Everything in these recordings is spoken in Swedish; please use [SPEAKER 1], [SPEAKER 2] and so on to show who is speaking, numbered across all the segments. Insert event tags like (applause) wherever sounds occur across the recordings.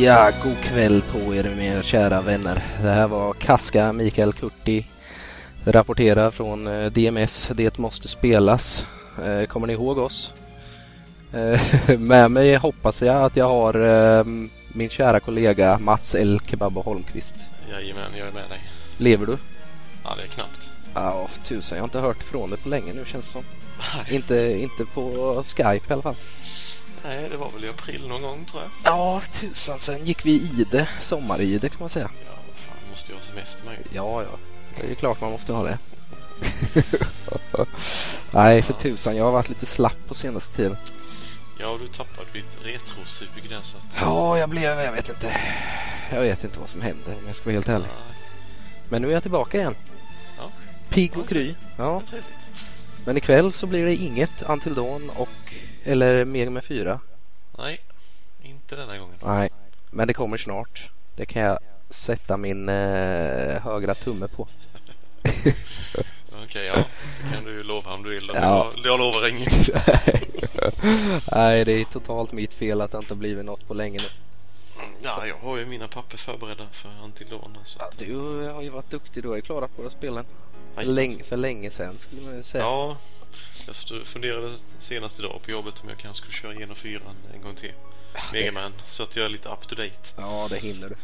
[SPEAKER 1] Ja, god kväll på er mina kära vänner. Det här var Kaska Mikael Kurti. Rapporterar från eh, DMS, Det måste spelas. Eh, Kommer ni ihåg oss? Eh, (laughs) Med mig hoppas jag att jag har eh, min kära kollega Mats El Kebabba Holmqvist.
[SPEAKER 2] Jajamän, jag är med dig.
[SPEAKER 1] Lever du?
[SPEAKER 2] Ja, det är knappt.
[SPEAKER 1] Ja, ah, för tusan. Jag har inte hört från dig på länge nu känns det som.
[SPEAKER 2] Nej,
[SPEAKER 1] Inte, inte på Skype i alla fall.
[SPEAKER 2] Nej, det var väl i april någon gång tror jag.
[SPEAKER 1] Ja, för tusan. Sen gick vi i det. Sommar-i det kan man säga.
[SPEAKER 2] Ja, vad fan, måste jag ha semester med.
[SPEAKER 1] Ja, ja. Det är klart man måste ha det. (laughs) Nej, för tusan. Jag har varit lite slapp på senaste tiden.
[SPEAKER 2] Ja, och du tappade ditt retrosug där så att...
[SPEAKER 1] Ja, jag blev... Jag vet inte. Jag vet inte vad som hände om jag ska vara helt ärlig.
[SPEAKER 2] Nej,
[SPEAKER 1] Men nu är jag tillbaka igen.
[SPEAKER 2] Ja.
[SPEAKER 1] Pigg och kry. Ja.
[SPEAKER 2] vad trevligt.
[SPEAKER 1] Men ikväll så blir det inget Until Dawn och... Eller Mega med 4.
[SPEAKER 2] Nej, inte denna gången.
[SPEAKER 1] Nej. Men det kommer snart. Det kan jag sätta min eh, högra tumme på.
[SPEAKER 2] Okej, ja. Det kan du ju lova om du vill. Men
[SPEAKER 1] Ja.
[SPEAKER 2] Jag, jag lovar inget.
[SPEAKER 1] (laughs) Nej, det är totalt mitt fel att det inte har blivit något på länge nu.
[SPEAKER 2] Ja, jag har ju mina papper förberedda för Antilona. Så
[SPEAKER 1] Ja,
[SPEAKER 2] att...
[SPEAKER 1] du har ju varit duktig, du har ju klarat båda spelen.
[SPEAKER 2] Nej,
[SPEAKER 1] Läng, för länge sedan skulle man ju säga.
[SPEAKER 2] Ja, jag stu- funderade senast idag på jobbet om jag kanske skulle köra igenom fyran en gång till. Megaman, så att jag är lite up to date.
[SPEAKER 1] Ja, det hinner du.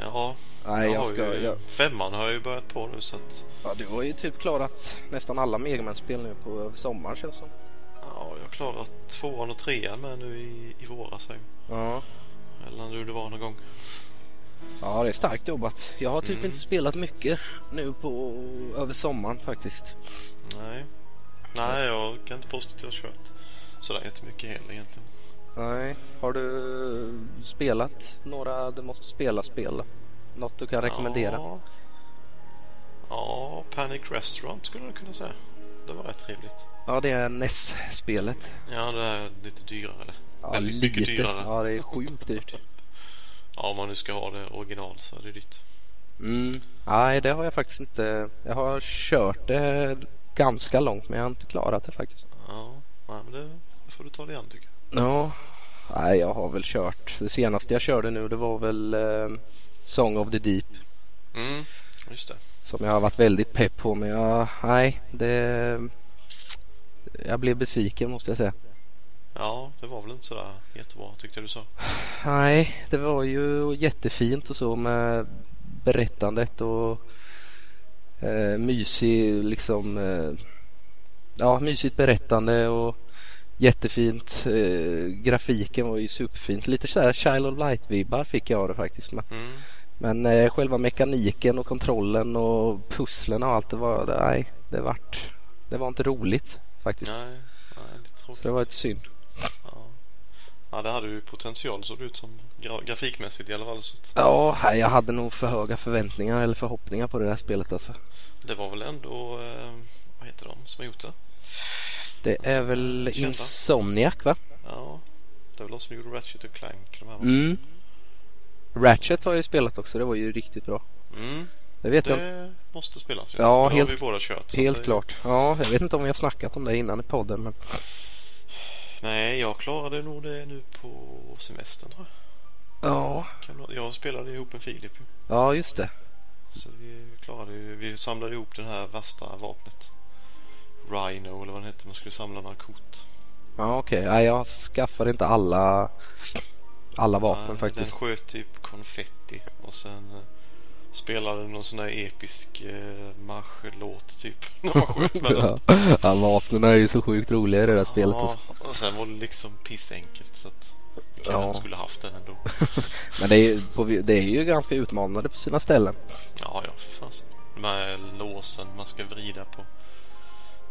[SPEAKER 2] Ja,
[SPEAKER 1] Nej, jag
[SPEAKER 2] har
[SPEAKER 1] ska...
[SPEAKER 2] ju,
[SPEAKER 1] Jag,
[SPEAKER 2] Femman har jag ju börjat på nu så att
[SPEAKER 1] ja, du har ju typ klarat nästan alla Mega man spel nu på över sommaren känns det som.
[SPEAKER 2] ja, jag har klarat tvåan och trean med nu i, i våras här. ju.
[SPEAKER 1] Ja.
[SPEAKER 2] Eller nu det var någon gång.
[SPEAKER 1] ja, det är starkt jobbat. Jag har typ
[SPEAKER 2] Mm.
[SPEAKER 1] inte spelat mycket nu på över sommaren faktiskt.
[SPEAKER 2] Nej, nej jag kan inte påstå att jag har kört sådär jättemycket heller egentligen.
[SPEAKER 1] Nej, har du spelat några du måste spela-spel? Något du kan rekommendera?
[SPEAKER 2] Ja, ja Panic Restaurant skulle jag kunna säga. Det var rätt trevligt.
[SPEAKER 1] Ja, det är E NES-spelet.
[SPEAKER 2] Ja, det är lite dyrare.
[SPEAKER 1] Ja,
[SPEAKER 2] Väldigt mycket
[SPEAKER 1] lite.
[SPEAKER 2] dyrare.
[SPEAKER 1] Ja, det är sjukt dyrt.
[SPEAKER 2] Ja, om man nu ska ha det original så är det dyrt.
[SPEAKER 1] Mm. Nej, det har jag faktiskt inte. Jag har kört det ganska långt, men jag har inte klarat det faktiskt.
[SPEAKER 2] Ja, nej, men det det får du ta dig an tycker jag.
[SPEAKER 1] Ja, nej, jag har väl kört. Det senaste jag körde nu, det var väl eh, Song of the Deep.
[SPEAKER 2] Mm, just det.
[SPEAKER 1] Som jag har varit väldigt pepp på, men jag, nej, det... Jag blev besviken måste jag säga.
[SPEAKER 2] Ja, det var väl inte sådär jättebra tyckte jag du sa.
[SPEAKER 1] Nej, det var ju jättefint och så med berättandet och eh, mysig liksom eh, ja, mysigt berättande och jättefint. Eh, grafiken var ju superfint. Lite sådär Child of Light-vibbar fick jag av det faktiskt. Men,
[SPEAKER 2] Mm.
[SPEAKER 1] men eh, själva mekaniken och kontrollen och pusslen och allt det var, det- nej, det vart, det var inte roligt faktiskt.
[SPEAKER 2] Nej, nej, lite
[SPEAKER 1] Så
[SPEAKER 2] tråkigt.
[SPEAKER 1] det var ett synd.
[SPEAKER 2] Ja. ja, det hade ju potential såg det ut som. Gra- grafikmässigt i alla fall. Så att
[SPEAKER 1] Ja, nej, jag hade nog för höga förväntningar eller förhoppningar på det där spelet alltså.
[SPEAKER 2] det var väl ändå, eh, vad heter de som har gjort det?
[SPEAKER 1] Det är väl
[SPEAKER 2] Kända.
[SPEAKER 1] Insomniac va?
[SPEAKER 2] Ja, det är väl de som gjorde Ratchet och Clank. De här, va?
[SPEAKER 1] Mm. Ratchet har jag ju spelat också, det var ju riktigt bra.
[SPEAKER 2] Mm,
[SPEAKER 1] Det vet jag
[SPEAKER 2] det måste spelas. ju.
[SPEAKER 1] Ja,
[SPEAKER 2] Det har
[SPEAKER 1] helt-
[SPEAKER 2] vi båda kört.
[SPEAKER 1] inte.
[SPEAKER 2] så
[SPEAKER 1] Helt
[SPEAKER 2] att det-
[SPEAKER 1] klart. Ja, jag vet inte om vi har snackat om det innan i podden men
[SPEAKER 2] Nej, jag klarade nog det nu på semestern tror jag.
[SPEAKER 1] ja.
[SPEAKER 2] Kan du- Jag spelade ihop med Filip ju.
[SPEAKER 1] Ja, just det.
[SPEAKER 2] Så vi klarade ju, vi samlade ihop det här värsta vapnet. Rhino eller vad den hette, man skulle samla några kort.
[SPEAKER 1] Ja, okej. Nej, jag skaffade inte alla alla vapen
[SPEAKER 2] Nej,
[SPEAKER 1] faktiskt.
[SPEAKER 2] Den sköt typ konfetti och sen eh, spelade någon sån där episk eh, marschlåt typ. (laughs) När man sköt med den.
[SPEAKER 1] (laughs) Ja. ja, vapnen är ju så sjukt roliga i det där spelet.
[SPEAKER 2] Ja,
[SPEAKER 1] Alltså.
[SPEAKER 2] och sen var det liksom pissenkelt så att killen
[SPEAKER 1] Ja.
[SPEAKER 2] skulle haft den ändå.
[SPEAKER 1] Men det är, ju på, det är ju ganska utmanande på sina ställen.
[SPEAKER 2] Ja, ja för fasen. De här låsen man ska vrida på.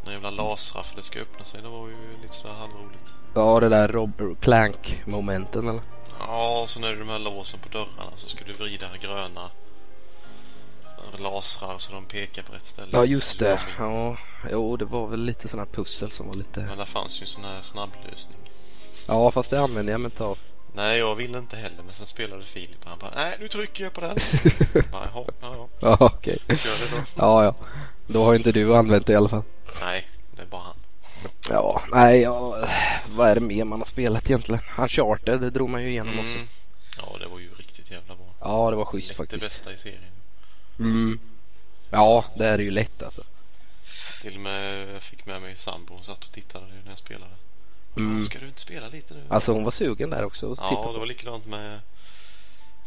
[SPEAKER 2] Någon jävla lasrar för det ska öppna sig. Det var ju lite sådär halvroligt.
[SPEAKER 1] Ja, det där Rob Clank-momenten eller?
[SPEAKER 2] Ja, och sen är det de här låsen på dörrarna så ska du vrida gröna lasrar så de pekar på rätt ställe.
[SPEAKER 1] Ja, just det.
[SPEAKER 2] Eller-
[SPEAKER 1] Ja, jo, det var väl lite sådana pussel som var lite...
[SPEAKER 2] Men där fanns ju en sån här snabblösning.
[SPEAKER 1] Ja, fast det använde jag mig inte av.
[SPEAKER 2] Nej, jag ville inte heller men sen spelade Filip och han bara Nej, nu trycker jag på den. bara, Jaha, ja,
[SPEAKER 1] (laughs) Ja, okej.
[SPEAKER 2] ja, kör det då.
[SPEAKER 1] Ja, ja. Då har inte du använt det i alla fall.
[SPEAKER 2] Nej, det är bara han.
[SPEAKER 1] Ja, nej, ja, vad är det mer man har spelat egentligen? Uncharted, det drog man ju igenom också.
[SPEAKER 2] Ja, det var ju riktigt
[SPEAKER 1] Ja, det var schysst
[SPEAKER 2] Lätt Mm. det
[SPEAKER 1] faktiskt.
[SPEAKER 2] bästa i serien.
[SPEAKER 1] Mm. Ja, det här är ju lätt alltså.
[SPEAKER 2] Till och med jag fick med mig sambo. Hon satt och tittade när jag spelade.
[SPEAKER 1] Mm.
[SPEAKER 2] Ska du inte spela lite nu?
[SPEAKER 1] Alltså hon var sugen där också. att titta
[SPEAKER 2] ja,
[SPEAKER 1] på.
[SPEAKER 2] det var likadant med,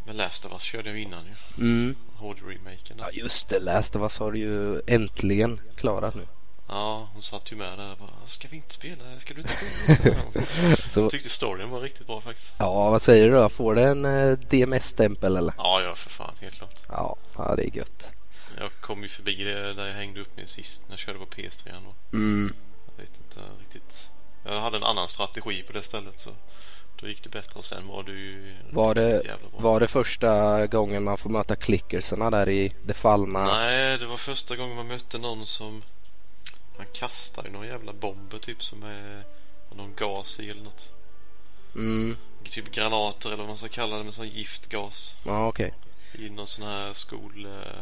[SPEAKER 2] med Last of Us. körde jag ju innan ju.
[SPEAKER 1] mm.
[SPEAKER 2] HD-remaken.
[SPEAKER 1] Ja
[SPEAKER 2] Ja.
[SPEAKER 1] just det, Last of Us har du ju äntligen klarat nu. (laughs)
[SPEAKER 2] hon satt ju med där och bara. Ska vi inte spela? Ska du inte spela?
[SPEAKER 1] (laughs) Så,
[SPEAKER 2] jag tyckte storyn var riktigt bra faktiskt.
[SPEAKER 1] ja vad säger du då? Får du en eh, DMS-stämpel eller?
[SPEAKER 2] Ja, ja för fan. Helt klart.
[SPEAKER 1] Ja, ja det är gött.
[SPEAKER 2] Jag kom ju förbi det där jag hängde upp mig sist när jag körde på PS3. Då.
[SPEAKER 1] Mm.
[SPEAKER 2] Jag vet inte riktigt. Jag hade en annan strategi på det stället så då gick det bättre och sen var du ju
[SPEAKER 1] Var det-
[SPEAKER 2] riktigt jävla bra.
[SPEAKER 1] Var det första gången man får möta klickersarna där i det fallna?
[SPEAKER 2] Nej, det var första gången man mötte någon som han kastar ju någon jävla bomber typ som är har någon gas i eller något.
[SPEAKER 1] Mm.
[SPEAKER 2] Typ granater eller vad man ska kalla det med sån giftgas
[SPEAKER 1] Ja okej.
[SPEAKER 2] i någon sån här skol... eh,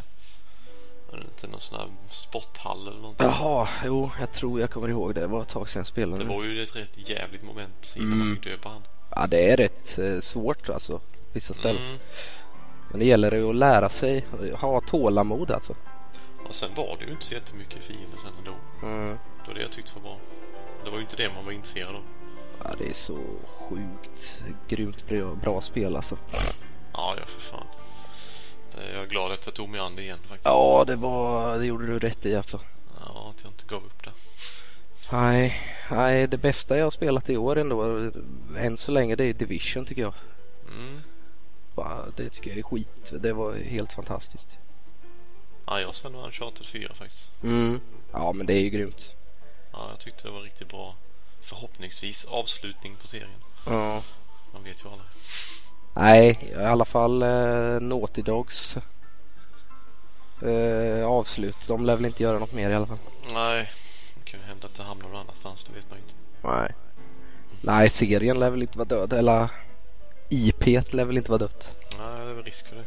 [SPEAKER 2] jag vet inte, någon sån här sporthall eller någonting.
[SPEAKER 1] Jaha, jo jag tror jag kommer ihåg det. Det var ett tag sedan jag spelade.
[SPEAKER 2] Det var ju ett rätt jävligt moment innan
[SPEAKER 1] Mm.
[SPEAKER 2] man fick döpa han.
[SPEAKER 1] Ja det är rätt eh, svårt alltså. Vissa ställen.
[SPEAKER 2] Mm.
[SPEAKER 1] Men det gäller ju att lära sig. Ha tålamod alltså.
[SPEAKER 2] Och sen var det ju inte så jättemycket fiender sen ändå.
[SPEAKER 1] Mm.
[SPEAKER 2] Det var det jag tyckte var bra. Det var ju inte det man var intresserad av.
[SPEAKER 1] Ja, det är så sjukt grymt bra, bra spel alltså.
[SPEAKER 2] Ja, ja för fan. Det- Jag är glad att jag tog mig an det igen faktiskt.
[SPEAKER 1] Ja, det var det gjorde du rätt i alltså.
[SPEAKER 2] Ja, att jag inte gav upp det.
[SPEAKER 1] Nej, nej, det bästa jag har spelat i år ändå än så länge det är Division tycker jag.
[SPEAKER 2] Mm.
[SPEAKER 1] Bara, Det tycker jag är skit. Det var helt fantastiskt.
[SPEAKER 2] Ja, jag sen Uncharted 4 faktiskt.
[SPEAKER 1] Mm. Ja, men det är ju grymt.
[SPEAKER 2] Ja, jag tyckte det var riktigt bra. Förhoppningsvis avslutning på serien.
[SPEAKER 1] Ja.
[SPEAKER 2] Man vet ju aldrig.
[SPEAKER 1] Nej, i alla fall eh, Naughty Dogs eh, avslut. De lär väl inte göra något mer i alla fall.
[SPEAKER 2] Nej, det kan ju hända att det hamnar någon annanstans. Det vet man ju inte.
[SPEAKER 1] Nej. Nej, serien lär väl inte vara död. Eller IP't lär väl inte vara dött.
[SPEAKER 2] Nej, det är väl risk för det.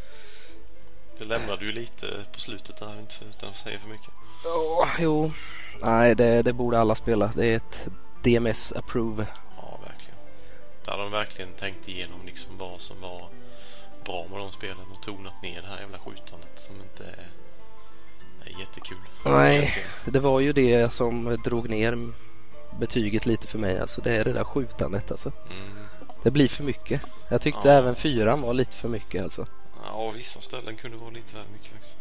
[SPEAKER 2] Det lämnade ju lite på slutet där inte för- utan att säga för mycket.
[SPEAKER 1] Ja, jo. Nej, det, det borde alla spela. Det är ett DMS approve.
[SPEAKER 2] Ja, verkligen. Där hade de verkligen tänkt igenom liksom vad som var bra med de spelen och tonat ner det här jävla skjutandet som inte är, är jättekul.
[SPEAKER 1] Nej.
[SPEAKER 2] Egentligen.
[SPEAKER 1] Det var ju det som drog ner betyget lite för mig. Alltså det är det där skjutandet alltså.
[SPEAKER 2] Mm.
[SPEAKER 1] Det blir för mycket. Jag tyckte
[SPEAKER 2] Ja.
[SPEAKER 1] även fyran var lite för mycket alltså.
[SPEAKER 2] Ja, vissa ställen kunde vara lite väl mycket faktiskt.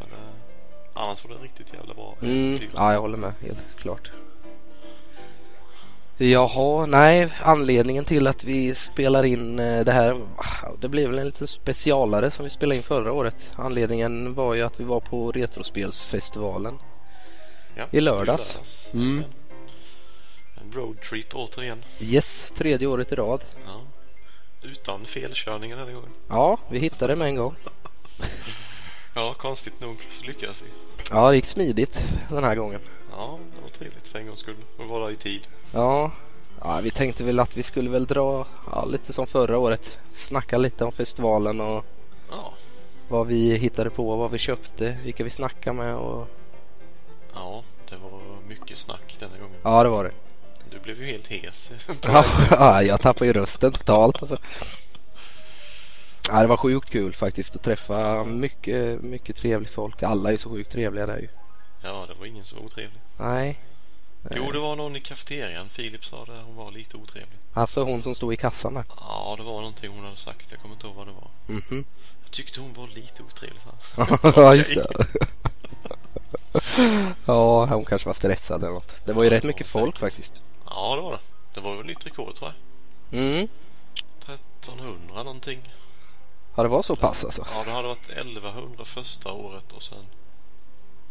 [SPEAKER 2] Men, eh, annars var det riktigt jävla bra.
[SPEAKER 1] Mm.
[SPEAKER 2] Typ.
[SPEAKER 1] Ja, jag håller med helt klart. Jaha, nej, anledningen till att vi spelar in eh, det här, det blev väl en liten specialare som vi spelade in förra året. Anledningen var ju att vi var på Retrospelsfestivalen.
[SPEAKER 2] Ja,
[SPEAKER 1] i lördags. Mm.
[SPEAKER 2] Men, En roadtrip återigen.
[SPEAKER 1] Yes, tredje året i rad.
[SPEAKER 2] Ja. Utan felkörningar den här gången.
[SPEAKER 1] Ja, vi hittade det med en gång.
[SPEAKER 2] Ja, konstigt nog så lyckades vi.
[SPEAKER 1] Ja, det gick smidigt den här gången.
[SPEAKER 2] Ja, det var trevligt för en gångs skull. Och vara i tid.
[SPEAKER 1] Ja, ja vi tänkte väl att vi skulle väl dra ja, lite som förra året. Snacka lite om festivalen och
[SPEAKER 2] Ja,
[SPEAKER 1] vad vi hittade på, vad vi köpte, vilka vi snackade med och
[SPEAKER 2] Ja, det var mycket snack denna gången.
[SPEAKER 1] ja, det var det.
[SPEAKER 2] Du blev ju helt
[SPEAKER 1] (laughs)
[SPEAKER 2] hes.
[SPEAKER 1] Ja, jag tappade ju rösten totalt alltså. Ja, det var sjukt kul faktiskt att träffa mycket, mycket trevligt folk. Alla är så sjukt trevliga där ju.
[SPEAKER 2] ja, det var ingen som var otrevlig.
[SPEAKER 1] Nej.
[SPEAKER 2] Jo, det var någon i kafeterian. Filip sa det. Hon var lite otrevlig.
[SPEAKER 1] Alltså hon som stod i kassan där.
[SPEAKER 2] Ja, det var någonting hon hade sagt. Jag kommer inte ihåg vad det var.
[SPEAKER 1] Mhm.
[SPEAKER 2] (laughs)
[SPEAKER 1] (laughs)
[SPEAKER 2] Jag tyckte hon var lite otrevlig. sa han.
[SPEAKER 1] ja, just det. (laughs) ja, hon kanske var stressad eller något. Det var ju rätt mycket folk faktiskt.
[SPEAKER 2] Ja, det var det. Det var ju ett nytt rekord tror jag.
[SPEAKER 1] Mm.
[SPEAKER 2] 1300 någonting.
[SPEAKER 1] Ja, det var så pass alltså.
[SPEAKER 2] Ja, det hade varit 1100 första året och sen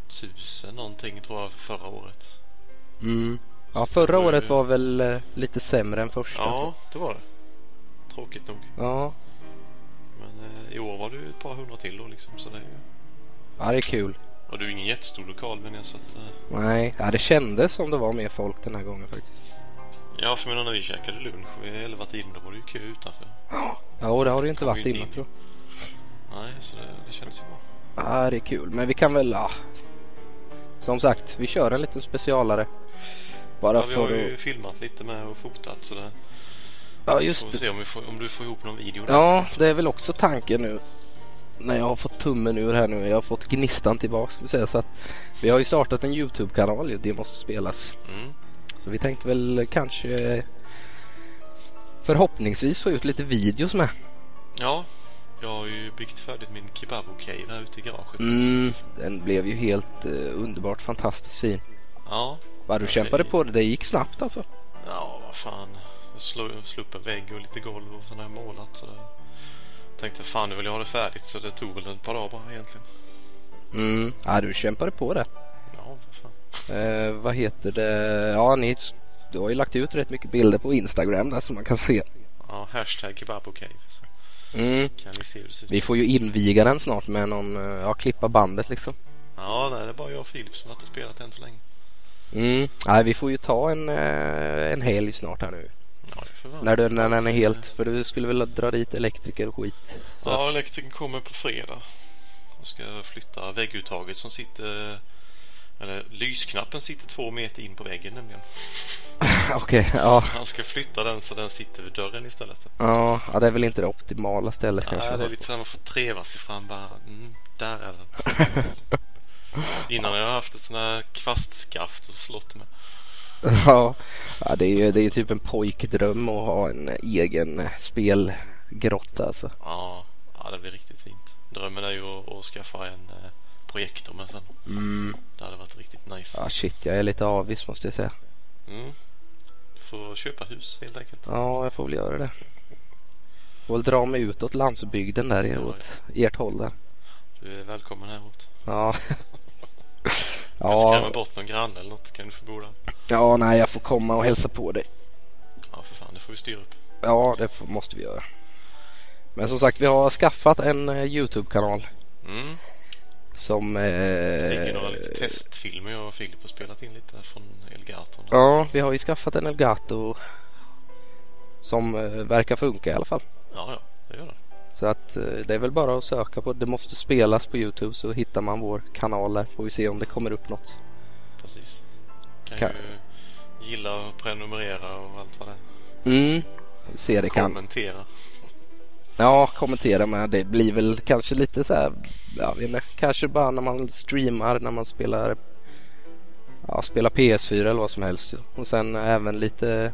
[SPEAKER 2] 1000 någonting tror jag förra året.
[SPEAKER 1] Mm. Ja, förra året var väl eh, lite sämre än första.
[SPEAKER 2] Ja, det var det. Tråkigt nog.
[SPEAKER 1] Ja,
[SPEAKER 2] Men eh, i år var det ju ett par hundra till då liksom. Så det är ju...
[SPEAKER 1] ja det är kul.
[SPEAKER 2] Och det är ju ingen jättestor lokal men jag så att... eh,
[SPEAKER 1] Nej, ja, det kändes som det var mer folk den här gången faktiskt.
[SPEAKER 2] Ja, för jag menar när vi käkade lunch vid elva tiden då var det ju kö utanför.
[SPEAKER 1] Ja, och det har det ju inte
[SPEAKER 2] Kom ju
[SPEAKER 1] varit
[SPEAKER 2] inte
[SPEAKER 1] innan
[SPEAKER 2] in.
[SPEAKER 1] tror jag.
[SPEAKER 2] Nej, så det, det kändes ju bra.
[SPEAKER 1] Ja, det är kul. Men vi kan väl, ja. Som sagt, vi kör en liten specialare. Bara
[SPEAKER 2] Ja, vi har
[SPEAKER 1] för
[SPEAKER 2] ju
[SPEAKER 1] att...
[SPEAKER 2] filmat lite med och fotat så det...
[SPEAKER 1] Ja,
[SPEAKER 2] Får
[SPEAKER 1] just
[SPEAKER 2] vi
[SPEAKER 1] det.
[SPEAKER 2] se om, vi får, om du får ihop någon video där.
[SPEAKER 1] Ja, det är väl också tanken nu. när jag har fått tummen ur här nu. Jag har fått gnistan tillbaka ska vi säga. Så att, vi har ju startat en Youtube-kanal ju. Det måste spelas.
[SPEAKER 2] Mm.
[SPEAKER 1] Så vi tänkte väl kanske eh, förhoppningsvis få ut lite videos med.
[SPEAKER 2] Ja, jag har ju byggt färdigt min kebab-cave här ute i garaget.
[SPEAKER 1] Mm, den blev ju helt eh, underbart fantastiskt fin.
[SPEAKER 2] Ja,
[SPEAKER 1] Vad du
[SPEAKER 2] Ja,
[SPEAKER 1] kämpade
[SPEAKER 2] det-
[SPEAKER 1] på det. Det gick snabbt alltså.
[SPEAKER 2] ja vad fan. Jag slog, slog upp en vägg och lite golv och sådär här målat. Så där. Tänkte fan nu vill jag ha det färdigt så det tog väl ett par dagar bara egentligen.
[SPEAKER 1] Mm, ja du kämpade på det.
[SPEAKER 2] Ja, vad fan.
[SPEAKER 1] Eh, vad heter det? Ja, ni, du har ju lagt ut rätt mycket bilder på Instagram där som man kan se.
[SPEAKER 2] Ja, hashtag kebab-cave. Så
[SPEAKER 1] Mm.
[SPEAKER 2] kan ni se hur det ser ut.
[SPEAKER 1] Vi får ju inviga den snart med någon, eh, ja klippa bandet liksom.
[SPEAKER 2] Ja, nej, det är bara jag och Filip som inte spelat än så länge.
[SPEAKER 1] Mm. Nej, vi får ju ta en, eh, en helg snart här nu.
[SPEAKER 2] Ja, det är för varmt.
[SPEAKER 1] När, du, när den är helt, för du skulle väl dra dit elektriker och skit. (laughs) Så
[SPEAKER 2] Ja, elektrikern kommer på fredag. Jag ska flytta vägguttaget som sitter... Eller lysknappen sitter två meter in på väggen nämligen.
[SPEAKER 1] Okej, ja.
[SPEAKER 2] Han ska flytta den så den sitter vid dörren istället.
[SPEAKER 1] ja. Ja, det är väl inte det optimala stället kanske.
[SPEAKER 2] Ja, det är lite så här, man får treva sig fram bara. Mm, där är den. (laughs) Innan har jag haft ett sån här kvastskaft och slått med.
[SPEAKER 1] (laughs) Ja, ja det, är ju, det är ju typ en pojkdröm att ha en egen spelgrotta alltså.
[SPEAKER 2] Ja, ja, det blir riktigt fint. Drömmen är ju att, att skaffa en eh, projektor med sen.
[SPEAKER 1] Mm.
[SPEAKER 2] Det hade varit riktigt nice.
[SPEAKER 1] Ja, shit, jag är lite avis måste jag säga.
[SPEAKER 2] Mm. Du får köpa hus helt enkelt.
[SPEAKER 1] Ja, jag får väl göra det. Får väl dra mig utåt landsbygden där åt ert håll där.
[SPEAKER 2] Du är välkommen häråt. (laughs)
[SPEAKER 1] Ja.
[SPEAKER 2] Ja. Jag skrämmer
[SPEAKER 1] Ja,
[SPEAKER 2] bort någon granne eller något kan du få bo där.
[SPEAKER 1] ja, nej, jag får komma och hälsa på dig.
[SPEAKER 2] Ja för fan, det får vi styra upp.
[SPEAKER 1] Ja, det får, måste vi göra. Men som sagt, vi har skaffat en eh, Youtube-kanal
[SPEAKER 2] Mm.
[SPEAKER 1] som...
[SPEAKER 2] Det ligger några
[SPEAKER 1] Eh,
[SPEAKER 2] lite testfilmer jag och Filip har spelat in lite från Elgaton.
[SPEAKER 1] ja, vi har ju skaffat en Elgato som eh, verkar funka i alla fall.
[SPEAKER 2] Ja, ja, det gör det.
[SPEAKER 1] Så att eh, det är väl bara att söka på Det måste spelas på Youtube så hittar man vår kanal där. Får vi se om det kommer upp något.
[SPEAKER 2] Precis. Kan,
[SPEAKER 1] Kan-
[SPEAKER 2] ju gilla och prenumerera och allt vad det är.
[SPEAKER 1] Mm, vi ser det kan.
[SPEAKER 2] Kommentera.
[SPEAKER 1] Ja, kommentera med. Det blir väl kanske lite så här, jag vet inte, kanske bara när man streamar, när man spelar, ja, spelar PS4 eller vad som helst. Och sen även lite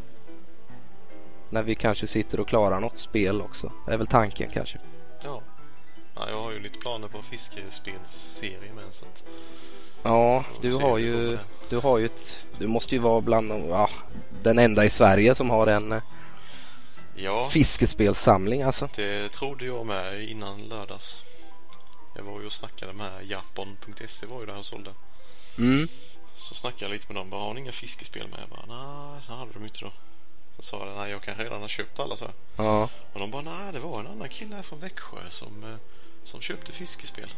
[SPEAKER 1] när vi kanske sitter och klarar något spel också. Det är väl tanken kanske.
[SPEAKER 2] Ja. ja. Jag har ju lite planer på fiskespelsserie med så att...
[SPEAKER 1] Ja,
[SPEAKER 2] får vi
[SPEAKER 1] du
[SPEAKER 2] se
[SPEAKER 1] har
[SPEAKER 2] hur det går
[SPEAKER 1] ju,
[SPEAKER 2] med det.
[SPEAKER 1] du har ju ett, du måste ju vara bland de, ja, den enda i Sverige som har en eh,
[SPEAKER 2] Ja,
[SPEAKER 1] fiskespelssamling alltså.
[SPEAKER 2] det trodde jag med innan lördags. Jag var ju och snackade med Japon.se var ju där och sålde.
[SPEAKER 1] Mm.
[SPEAKER 2] Så snackade jag lite med dem. Bara, har ni inga fiskespel med? Jag bara, nej, det hade de inte då. Så sa jag, nej, jag kanske redan har köpt alla så.
[SPEAKER 1] Ja,
[SPEAKER 2] Och de bara, nej, det var en annan kille här från Växjö som, eh, som köpte fiskespel.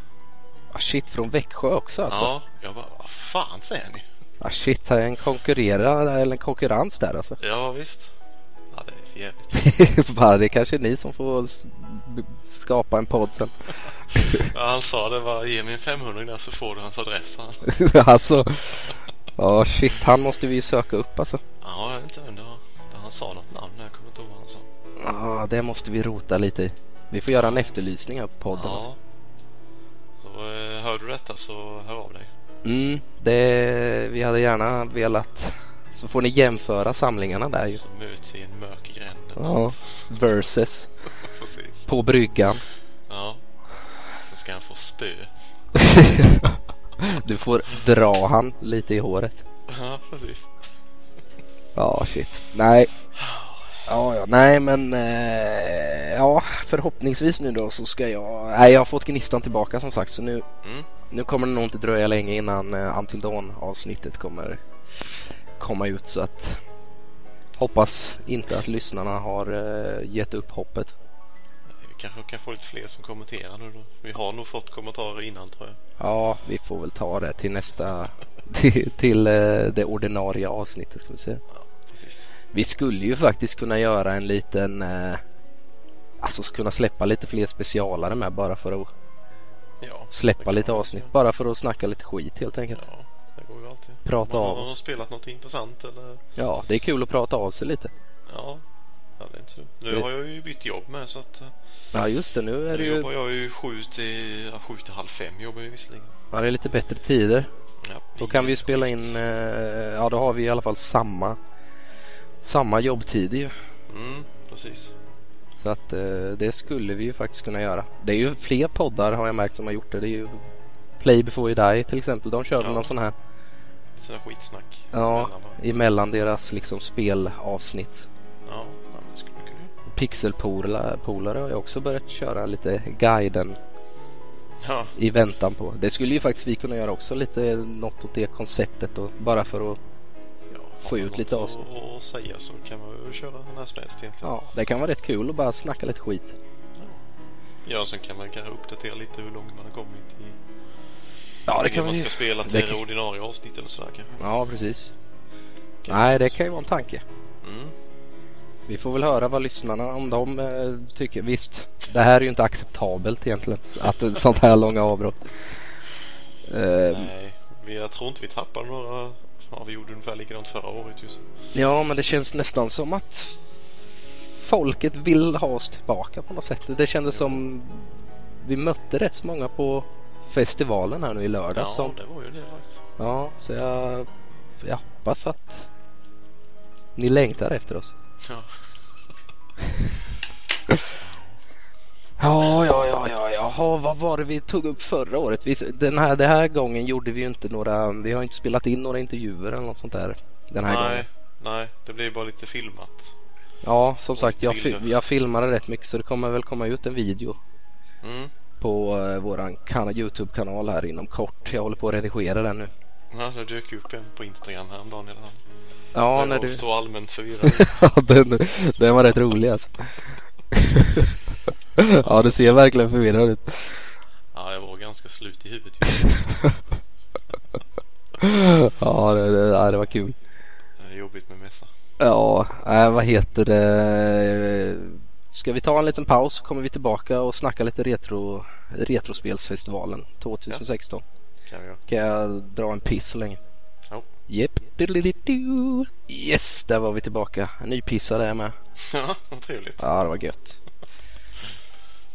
[SPEAKER 1] ah, shit från Växjö också alltså.
[SPEAKER 2] Ja, jag bara, vad fan säger ni?
[SPEAKER 1] Ah, shit, här är en konkurrera eller en konkurrens där alltså.
[SPEAKER 2] Ja, visst. Ja, det är för jävligt.
[SPEAKER 1] Bara, det kanske är ni som får s- b- skapa en podd sen. (laughs)
[SPEAKER 2] Ja, han sa det var, ge mig en 500 där så får du hans adress. sa Han.
[SPEAKER 1] alltså, ja shit, han måste vi ju söka upp alltså.
[SPEAKER 2] Ja, jag är inte undra. Han sa något namn, jag kommer inte ihåg vad han sa.
[SPEAKER 1] Ja, Ah, det måste vi rota lite i. Vi får göra en efterlysning av podden. alltså.
[SPEAKER 2] Ja. Så eh, hör du detta så hör av dig.
[SPEAKER 1] Mm, det vi hade gärna velat. Så får ni jämföra samlingarna där ju.
[SPEAKER 2] Så möts vi i en mörk gränd.
[SPEAKER 1] Ja, versus
[SPEAKER 2] Precis.
[SPEAKER 1] på bryggan.
[SPEAKER 2] Ja. Sen ska han få spö.
[SPEAKER 1] du får dra han lite i håret.
[SPEAKER 2] Ja, precis.
[SPEAKER 1] Ja, shit. Nej. Ja, ja, nej men eh, ja, förhoppningsvis nu då så ska jag, nej jag har fått gnistan tillbaka som sagt så nu,
[SPEAKER 2] Mm.
[SPEAKER 1] nu kommer det nog inte dröja länge innan eh, Until Dawn avsnittet kommer komma ut så att hoppas inte att lyssnarna har eh, gett upp hoppet.
[SPEAKER 2] Vi kanske kan få lite fler som kommenterar nu då. Vi har nog fått kommentarer innan tror jag.
[SPEAKER 1] Ja, vi får väl ta det till nästa, (laughs) till, till eh, det ordinarie avsnittet ska vi se.
[SPEAKER 2] Precis.
[SPEAKER 1] Vi skulle ju faktiskt kunna göra en liten eh, Alltså kunna släppa lite fler specialare med bara för att
[SPEAKER 2] Ja. det
[SPEAKER 1] släppa
[SPEAKER 2] kan
[SPEAKER 1] lite
[SPEAKER 2] man
[SPEAKER 1] avsnitt.
[SPEAKER 2] också.
[SPEAKER 1] Bara för att snacka lite skit helt enkelt.
[SPEAKER 2] Ja, det går ju alltid.
[SPEAKER 1] Prata
[SPEAKER 2] Man-
[SPEAKER 1] av
[SPEAKER 2] man har
[SPEAKER 1] oss.
[SPEAKER 2] spelat något intressant eller?
[SPEAKER 1] Ja, det är kul att prata av sig lite.
[SPEAKER 2] Ja. Ja, det är inte så dumt. Nu har jag ju bytt jobb med så att eh,
[SPEAKER 1] Ja just det, nu är det
[SPEAKER 2] nu
[SPEAKER 1] ju
[SPEAKER 2] jobbar jag ju sju till, ja, sju till halv fem jobbar jag visserligen.
[SPEAKER 1] ja, det är lite bättre tider.
[SPEAKER 2] Ja,
[SPEAKER 1] Då
[SPEAKER 2] ingen
[SPEAKER 1] kan vi ju
[SPEAKER 2] skift.
[SPEAKER 1] spela in, eh, ja då har vi i alla fall samma, samma jobbtid ju.
[SPEAKER 2] Mm, precis.
[SPEAKER 1] Så att eh, det skulle vi ju faktiskt kunna göra. Det är ju fler poddar har jag märkt som har gjort det. Det är ju Play before you die till exempel. De kör väl
[SPEAKER 2] Ja.
[SPEAKER 1] någon sån här
[SPEAKER 2] Sådana skitsnack.
[SPEAKER 1] Ja.
[SPEAKER 2] Mellan varandra.
[SPEAKER 1] emellan deras liksom spelavsnitt.
[SPEAKER 2] Ja, ja, men det skulle man kunna göra.
[SPEAKER 1] Pixelpolare har jag också börjat köra lite guiden
[SPEAKER 2] Ja,
[SPEAKER 1] i väntan på. Det skulle ju faktiskt vi kunna göra också lite något åt det konceptet och bara för att
[SPEAKER 2] ja, har
[SPEAKER 1] Få
[SPEAKER 2] man
[SPEAKER 1] ut lite
[SPEAKER 2] något
[SPEAKER 1] avsnitt.
[SPEAKER 2] att- att säga så kan man väl köra när som helst egentligen.
[SPEAKER 1] ja, det kan vara rätt kul att bara snacka lite skit.
[SPEAKER 2] Ja, sen kan man kanske uppdatera lite hur långt man har kommit i
[SPEAKER 1] Ja, det kan
[SPEAKER 2] man
[SPEAKER 1] vi
[SPEAKER 2] ska
[SPEAKER 1] ju.
[SPEAKER 2] spela till
[SPEAKER 1] det
[SPEAKER 2] det
[SPEAKER 1] kan-
[SPEAKER 2] ordinarie avsnitt eller sådär kanske.
[SPEAKER 1] Ja, precis.
[SPEAKER 2] Kan
[SPEAKER 1] Nej,
[SPEAKER 2] man-
[SPEAKER 1] det kan ju vara en tanke.
[SPEAKER 2] Mm.
[SPEAKER 1] Vi får väl höra vad lyssnarna om de eh, tycker. Visst, det här är ju inte acceptabelt egentligen. Att det är sånt här långa avbrott. Eh,
[SPEAKER 2] Nej, vi, jag tror inte vi tappar några. Ja, vi gjorde ungefär likadant förra året just.
[SPEAKER 1] ja, men det känns nästan som att folket vill ha oss tillbaka på något sätt. Det kändes som vi mötte rätt så många på festivalen här nu i lördag.
[SPEAKER 2] Ja,
[SPEAKER 1] som,
[SPEAKER 2] det var ju det faktiskt.
[SPEAKER 1] ja så jag, jag hoppas att ni längtar efter oss.
[SPEAKER 2] Ja.
[SPEAKER 1] Ja, ja, ja, ja, jaha, vad var det vi tog upp förra året? Vi, den, här, den här gången gjorde vi ju inte några, vi har inte spelat in några intervjuer eller något sånt där den här gången.
[SPEAKER 2] Nej, nej, det blir bara lite filmat.
[SPEAKER 1] Ja, som sagt,
[SPEAKER 2] lite
[SPEAKER 1] jag, fi-
[SPEAKER 2] bilder.
[SPEAKER 1] jag filmade rätt mycket så det kommer väl komma ut en video
[SPEAKER 2] Mm.
[SPEAKER 1] på eh, våran kan- Youtube-kanal här inom kort. Jag håller på att redigera den nu.
[SPEAKER 2] Ja, det dök ju upp en på Instagram häromdagen i alla fall.
[SPEAKER 1] Ja,
[SPEAKER 2] Där
[SPEAKER 1] när
[SPEAKER 2] jag
[SPEAKER 1] du...
[SPEAKER 2] Så allmänt förvirrad.
[SPEAKER 1] (laughs) Ja, den, den var rätt rolig alltså. (laughs) ja, du ser verkligen förvirrad ut.
[SPEAKER 2] ja, jag var ganska slut i huvudet just. nu.
[SPEAKER 1] Ja, det, det, ja, det var kul.
[SPEAKER 2] Det är Jobbigt med mässa.
[SPEAKER 1] Ja, äh, vad heter det? Ska vi ta en liten paus så kommer vi tillbaka och snacka lite retro, Retrospelsfestivalen 2016.
[SPEAKER 2] Kan vi göra.
[SPEAKER 1] Kan jag dra en piss så länge?
[SPEAKER 2] Ja.
[SPEAKER 1] Jep. Du-du-du-du. Yes, där var vi tillbaka. Nypissade är med.
[SPEAKER 2] (laughs) Ja, vad trevligt.
[SPEAKER 1] Ja, det var gött.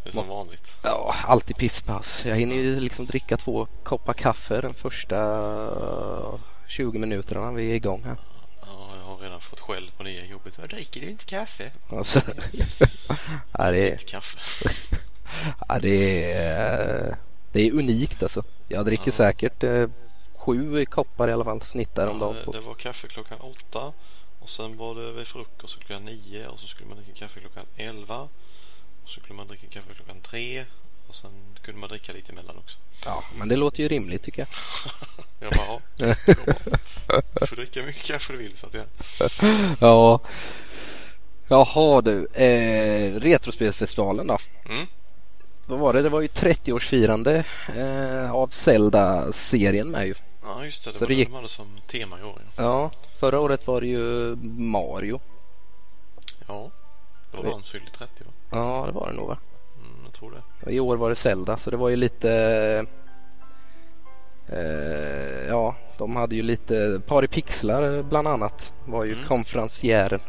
[SPEAKER 2] Det är som vanligt.
[SPEAKER 1] Ja, alltid pisspaus. Jag hinner ju liksom dricka två koppar kaffe den första 20 minuterna vi är igång här.
[SPEAKER 2] Ja, jag har redan fått skäll på nya jobbet. Vad dricker du inte kaffe?
[SPEAKER 1] Alltså, (laughs) ja, det är...
[SPEAKER 2] Inte kaffe.
[SPEAKER 1] Ja, det är, det är unikt alltså. Jag dricker
[SPEAKER 2] Ja.
[SPEAKER 1] säkert eh, sju koppar i alla fall snittar om dagen.
[SPEAKER 2] Ja,
[SPEAKER 1] På.
[SPEAKER 2] Det var kaffe klockan åtta och sen var det vid frukost klockan nio och så skulle man dricka kaffe klockan elva. Och så skulle man dricka kaffe klockan tre och sen kunde man dricka lite emellan också.
[SPEAKER 1] Ja, men det låter ju rimligt tycker jag.
[SPEAKER 2] Jag bara, ja, det går bra. du får dricka hur mycket kaffe du vill så att jag...
[SPEAKER 1] Ja. Jaha du, eh, Retrospelsfestivalen då.
[SPEAKER 2] Mm.
[SPEAKER 1] Vad var det? Det var ju 30-årsfirande eh, av Zelda-serien med ju.
[SPEAKER 2] Ja just det, det
[SPEAKER 1] Så
[SPEAKER 2] var
[SPEAKER 1] det
[SPEAKER 2] det
[SPEAKER 1] gick-
[SPEAKER 2] de hade som tema i år. ja.
[SPEAKER 1] Ja, förra året var det ju Mario.
[SPEAKER 2] Ja, då
[SPEAKER 1] Oj.
[SPEAKER 2] var han fylld 30 va?
[SPEAKER 1] Ja, det var det nog va?
[SPEAKER 2] Mm, jag tror det.
[SPEAKER 1] Och I år var det Zelda så det var ju lite eh, Ja, de hade ju lite Pari Pixlar bland annat var ju
[SPEAKER 2] Mm.
[SPEAKER 1] konferencieren.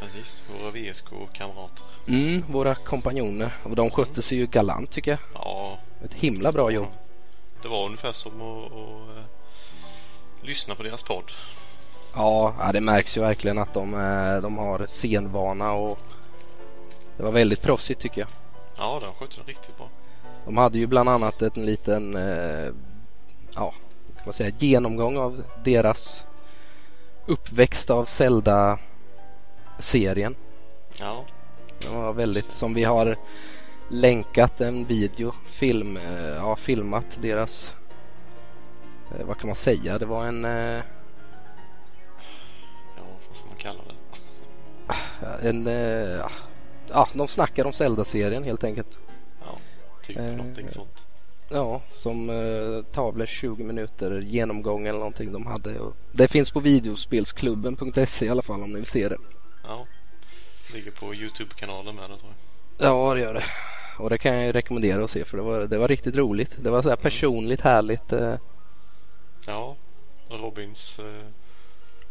[SPEAKER 2] Precis, våra VSK-kamrater.
[SPEAKER 1] Mm, våra kompanjoner och de skötte sig ju galant tycker jag.
[SPEAKER 2] Ja,
[SPEAKER 1] Ett himla bra jobb.
[SPEAKER 2] det var ungefär som att, att eh, lyssna på deras podd.
[SPEAKER 1] Ja, ja det märks ju verkligen att de, eh, de har scenvana och det var väldigt proffsigt tycker jag.
[SPEAKER 2] Ja, de skötte det riktigt bra.
[SPEAKER 1] De hade ju bland annat en liten eh, ja, vad kan man säga, genomgång av deras uppväxt av Zelda-serien.
[SPEAKER 2] Ja,
[SPEAKER 1] Det var väldigt, som vi har länkat en video, film, eh, ja, filmat deras, eh, vad kan man säga, det var en, eh,
[SPEAKER 2] ja vad ska man kalla det?
[SPEAKER 1] en eh, ja. ja, de snackar om Zelda-serien helt enkelt.
[SPEAKER 2] Ja, typ
[SPEAKER 1] Eh,
[SPEAKER 2] någonting sånt.
[SPEAKER 1] Ja, som eh, tavlor 20 minuter genomgång eller någonting de hade. Och det finns på videospelsklubben.se E i alla fall om ni vill se det.
[SPEAKER 2] Ja. Ligger på Youtube-kanalen med det tror jag.
[SPEAKER 1] Ja, det gör det. Och det kan jag ju rekommendera att se för det var, det var riktigt roligt. Det var så här personligt härligt. Eh,
[SPEAKER 2] Ja, Robins eh,